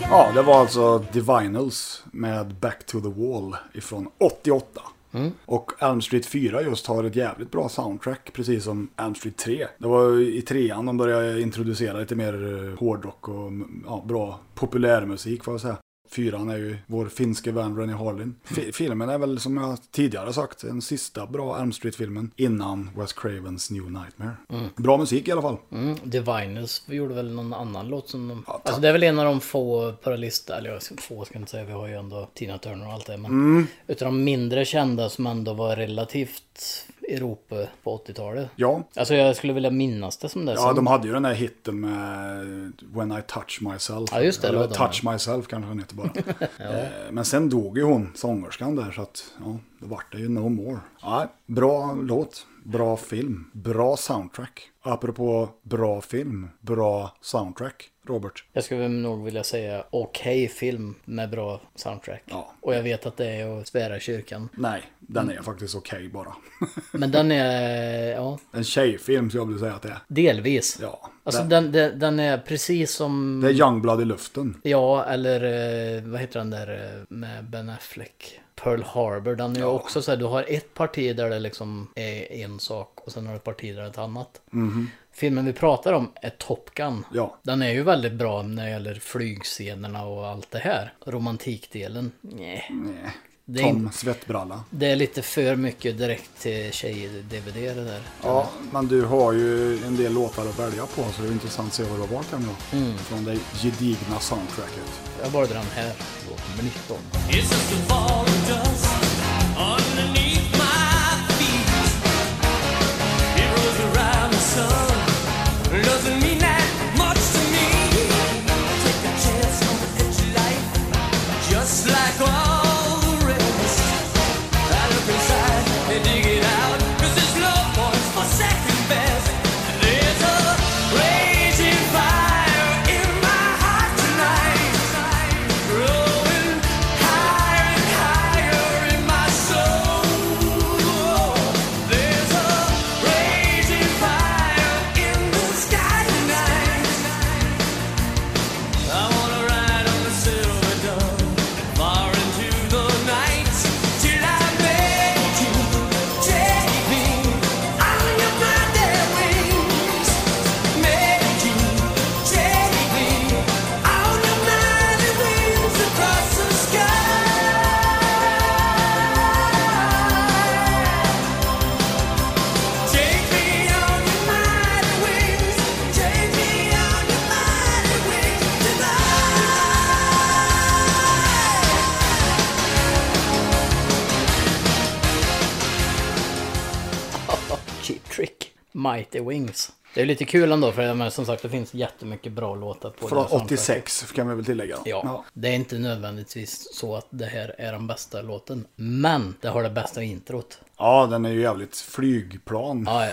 Speaker 2: Ja, det var alltså Divinals med Back to the Wall ifrån 88.
Speaker 3: Mm.
Speaker 2: Och Elm Street 4 just har ett jävligt bra soundtrack, precis som Elm Street 3. Det var ju i trean de började introducera lite mer eh, hårdrock och mm, ja, bra populärmusik får jag säga. Fyran är ju vår finske vän Rennie Harlin. Fi-
Speaker 3: Mm.
Speaker 2: Filmen är väl som jag tidigare sagt den sista bra Elm Street-filmen innan Wes Cravens New Nightmare.
Speaker 3: Mm.
Speaker 2: Bra musik i alla fall.
Speaker 3: Mm, Diviners gjorde väl någon annan låt som de... alltså det är väl en av de få paralist... Eller jag ska- få ska jag inte säga, vi har ju ändå Tina Turner och allt det. Men
Speaker 2: Mm.
Speaker 3: utav de mindre kända som ändå var relativt Europa på 80-talet.
Speaker 2: Ja.
Speaker 3: Alltså jag skulle vilja minnas det som det.
Speaker 2: Ja,
Speaker 3: som-
Speaker 2: de hade ju den där hitten med When I touch myself.
Speaker 3: Ja, just det,
Speaker 2: Eller
Speaker 3: det var de,
Speaker 2: touch myself kanske den
Speaker 3: [laughs]
Speaker 2: heter bara. Eh, Men sen dog ju hon, sångerskan där, så att ja, då vart det ju No More. Ja, bra låt, bra film, bra soundtrack. Apropå bra film, bra soundtrack, Robert.
Speaker 3: Jag skulle väl nog vilja säga okej film med bra soundtrack.
Speaker 2: Ja.
Speaker 3: Och jag vet att det är att svära i kyrkan.
Speaker 2: Nej, den är
Speaker 3: Mm.
Speaker 2: faktiskt okej bara. [laughs]
Speaker 3: Men den är, ja,
Speaker 2: En tjejfilm skulle jag vilja säga att det är.
Speaker 3: delvis.
Speaker 2: Ja.
Speaker 3: Alltså
Speaker 2: den-
Speaker 3: den, den, den är precis som...
Speaker 2: Det är Youngblood i luften.
Speaker 3: Ja, eller eh, vad heter den där eh, med Ben Affleck? Pearl Harbor, den är ju också så här, du har ett parti där det liksom är en sak och sen har du ett parti där det är ett annat.
Speaker 2: Mhm.
Speaker 3: Filmen vi pratar om är Top Gun.
Speaker 2: Ja.
Speaker 3: Den är ju väldigt bra när det gäller flygscenerna och allt det här. Romantikdelen, nej. Det är,
Speaker 2: Tom
Speaker 3: in,
Speaker 2: Svettbralla.
Speaker 3: det är lite för mycket direkt till tjej-DVD det där.
Speaker 2: Ja, men du har ju en del låtar att välja på så det är intressant att se vad du har valt ändå.
Speaker 3: Mm.
Speaker 2: Från det gedigna soundtracket.
Speaker 3: Jag valde den här, låt nummer 19.
Speaker 16: It's just a fall of dust underneath my feet. It rolls around the sun. Doesn't mean that much to me. Take a chance on the edge of life, just like all the rest. I look inside and dig it out, 'cause this love one's my second best. There's a raging fire in my heart tonight, growing higher and higher in my soul. There's a raging fire in the sky tonight. I wanna ride on the silver dawn, far into the night, till I beg you, take me under my dead wings. Make you take me under my dead wings across the sky. Take me on your mighty wings, take me on your mighty wings tonight.
Speaker 3: Cheap Trick, Mighty Wings. Det är lite kul ändå för jag menar, som sagt det finns jättemycket bra låtar på det
Speaker 2: Från
Speaker 3: här soundtracket.
Speaker 2: 86 kan vi väl tillägga.
Speaker 3: Ja. det är inte nödvändigtvis så att det här är den bästa låten. Men det har det bästa introt.
Speaker 2: ja, den är ju jävligt flygplan.
Speaker 3: Ja,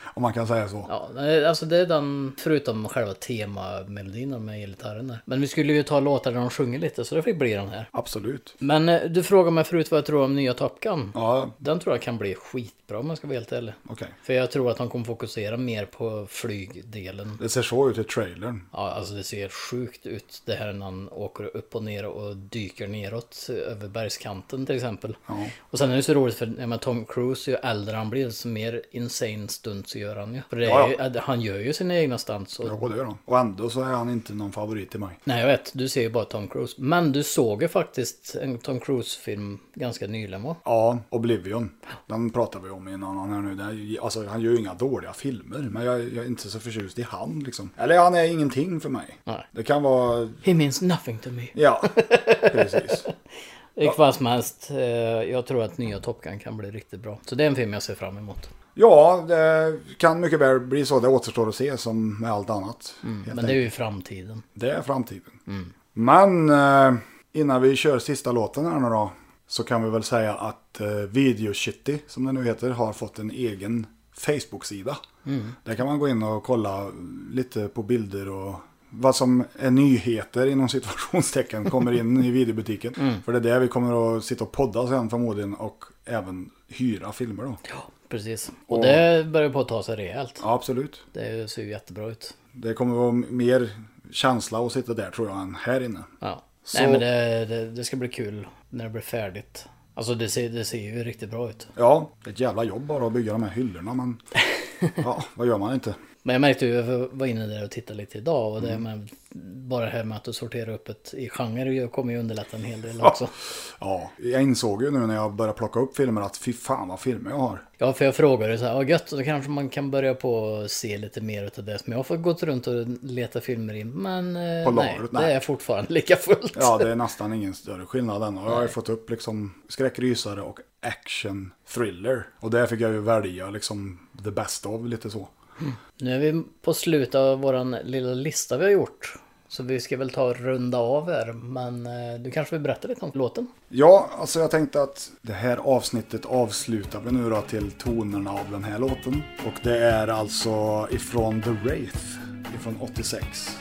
Speaker 2: Om man kan säga så.
Speaker 3: Ja, nej, alltså det är den, förutom själva temamelodin med gitarren där. Men vi skulle ju ta låtar där de sjunger lite så det fick bli den här.
Speaker 2: Absolut.
Speaker 3: Men eh, du frågade mig förut vad jag tror om nya Top Gun.
Speaker 2: Ja.
Speaker 3: Den tror jag kan bli skitbra om jag ska vara helt ärlig.
Speaker 2: Okej.
Speaker 3: För jag tror att de kommer fokusera mer på flygdelen.
Speaker 2: Det ser så ut i trailern.
Speaker 3: Ja, alltså det ser sjukt ut det här när han åker upp och ner och dyker neråt över bergskanten till exempel.
Speaker 2: Ja.
Speaker 3: Och sen är det så roligt för ja, men Tom Cruise, ju äldre han blir, desto mer insane stunts gör han ju. För det är
Speaker 2: Ja,
Speaker 3: ju,
Speaker 2: ja.
Speaker 3: att han gör ju sina egna stunts. Och...
Speaker 2: Ja, det gör de. Och ändå så är han inte någon favorit till mig.
Speaker 3: Nej, jag vet. Du ser ju bara Tom Cruise. Men du såg ju faktiskt en Tom Cruise-film ganska nyligen va?
Speaker 2: Ja, Oblivion. Den pratar vi om i en annan här nu. Det är ju- Alltså, han gör ju inga dåliga filmer, men jag, jag är inte så förtjust i han liksom. Eller han är ingenting för mig.
Speaker 3: Nej.
Speaker 2: Det kan vara...
Speaker 3: He means nothing to me. [laughs]
Speaker 2: Ja, precis.
Speaker 3: Vilket fall som helst, eh, jag tror att nya Top Gun kan bli riktigt bra. Så det är en film jag ser fram emot.
Speaker 2: Ja, det kan mycket väl bli så. Det återstår att se som med allt annat. helt
Speaker 3: Mm, Men det är ju Mm.
Speaker 2: enkelt.
Speaker 3: framtiden.
Speaker 2: det är framtiden. Men eh, innan vi kör sista låten här nu då. Så kan vi väl säga att eh, Videoshitty, som det nu heter, har fått en egen Facebook-sida.
Speaker 16: Mm.
Speaker 2: Där kan man gå in och kolla lite på bilder och vad som är nyheter inom situationstecken kommer in i videobutiken.
Speaker 3: Mm.
Speaker 2: För det är där vi kommer att sitta och podda sen förmodligen och även hyra filmer då.
Speaker 3: Precis. Och
Speaker 2: Och-
Speaker 3: det börjar på att ta sig rejält.
Speaker 2: Ja, absolut.
Speaker 3: Det ser ju jättebra ut.
Speaker 2: Det kommer vara mer känsla att sitta där tror jag än här inne.
Speaker 3: Ja.
Speaker 2: Så,
Speaker 3: Nej men det, det, det ska bli kul när det blir färdigt. Alltså det ser, det ser ju riktigt bra ut.
Speaker 2: Ja, ett jävla jobb bara att bygga de här hyllorna men ja, vad gör man inte?
Speaker 3: Men jag märkte ju, jag var inne där och tittade lite idag och det
Speaker 2: Mm.
Speaker 3: med, bara det här med att du sorterar upp ett i genre ju- kommer ju underlätta en hel del också.
Speaker 2: Ja, jag insåg ju nu när jag började plocka upp filmer att fy fan vad filmer jag har.
Speaker 3: Ja, för jag frågade så här, ja gött, då kanske man kan börja på och se lite mer utav det som jag har fått gått runt och leta filmer i, men eh,
Speaker 2: På
Speaker 3: nej,
Speaker 2: lagret,
Speaker 3: det
Speaker 2: nej.
Speaker 3: är fortfarande lika fullt.
Speaker 2: Ja, det är nästan ingen större skillnad än. Och jag har ju
Speaker 3: Nej.
Speaker 2: fått upp liksom skräckrysare och action thriller. Och där fick jag ju välja liksom the best of lite så.
Speaker 3: Nu är vi på slutet av våran lilla lista vi har gjort. Så vi ska väl ta och runda av här, men eh, du kanske vill berätta lite om låten?
Speaker 2: Ja, alltså jag tänkte att det här avsnittet avslutar vi nu då till tonerna av den här låten. Och det är alltså ifrån The Wraith, ifrån 86.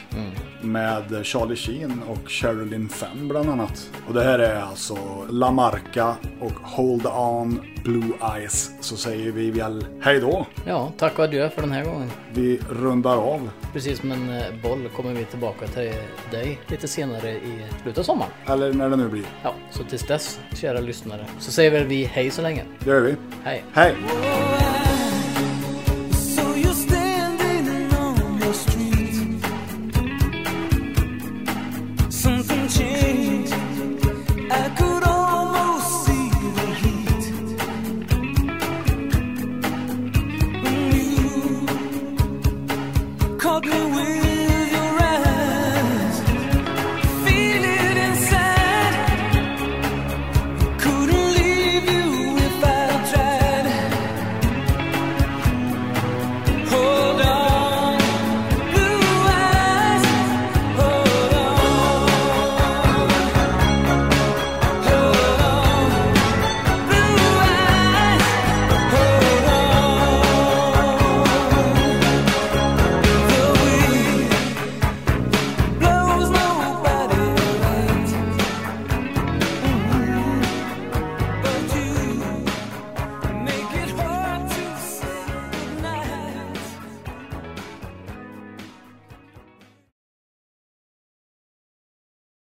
Speaker 2: Med Charlie Sheen och Sherilyn Fenn bland annat. Och det här är alltså La Marca och Hold On Blue Eyes. Så säger vi väl hej då.
Speaker 3: Ja, tack och adjö för den här gången.
Speaker 2: Vi rundar av.
Speaker 3: Precis som en eh, boll kommer vi tillbaka till dig lite senare i slutet av sommaren.
Speaker 2: Eller när det nu blir.
Speaker 3: Ja, så tills dess, kära lyssnare, så säger väl vi hej så länge.
Speaker 2: Det gör vi.
Speaker 3: Hej!
Speaker 2: Hej!
Speaker 10: So you're standing on the street. Something changed. I could almost see the heat. When you caught me with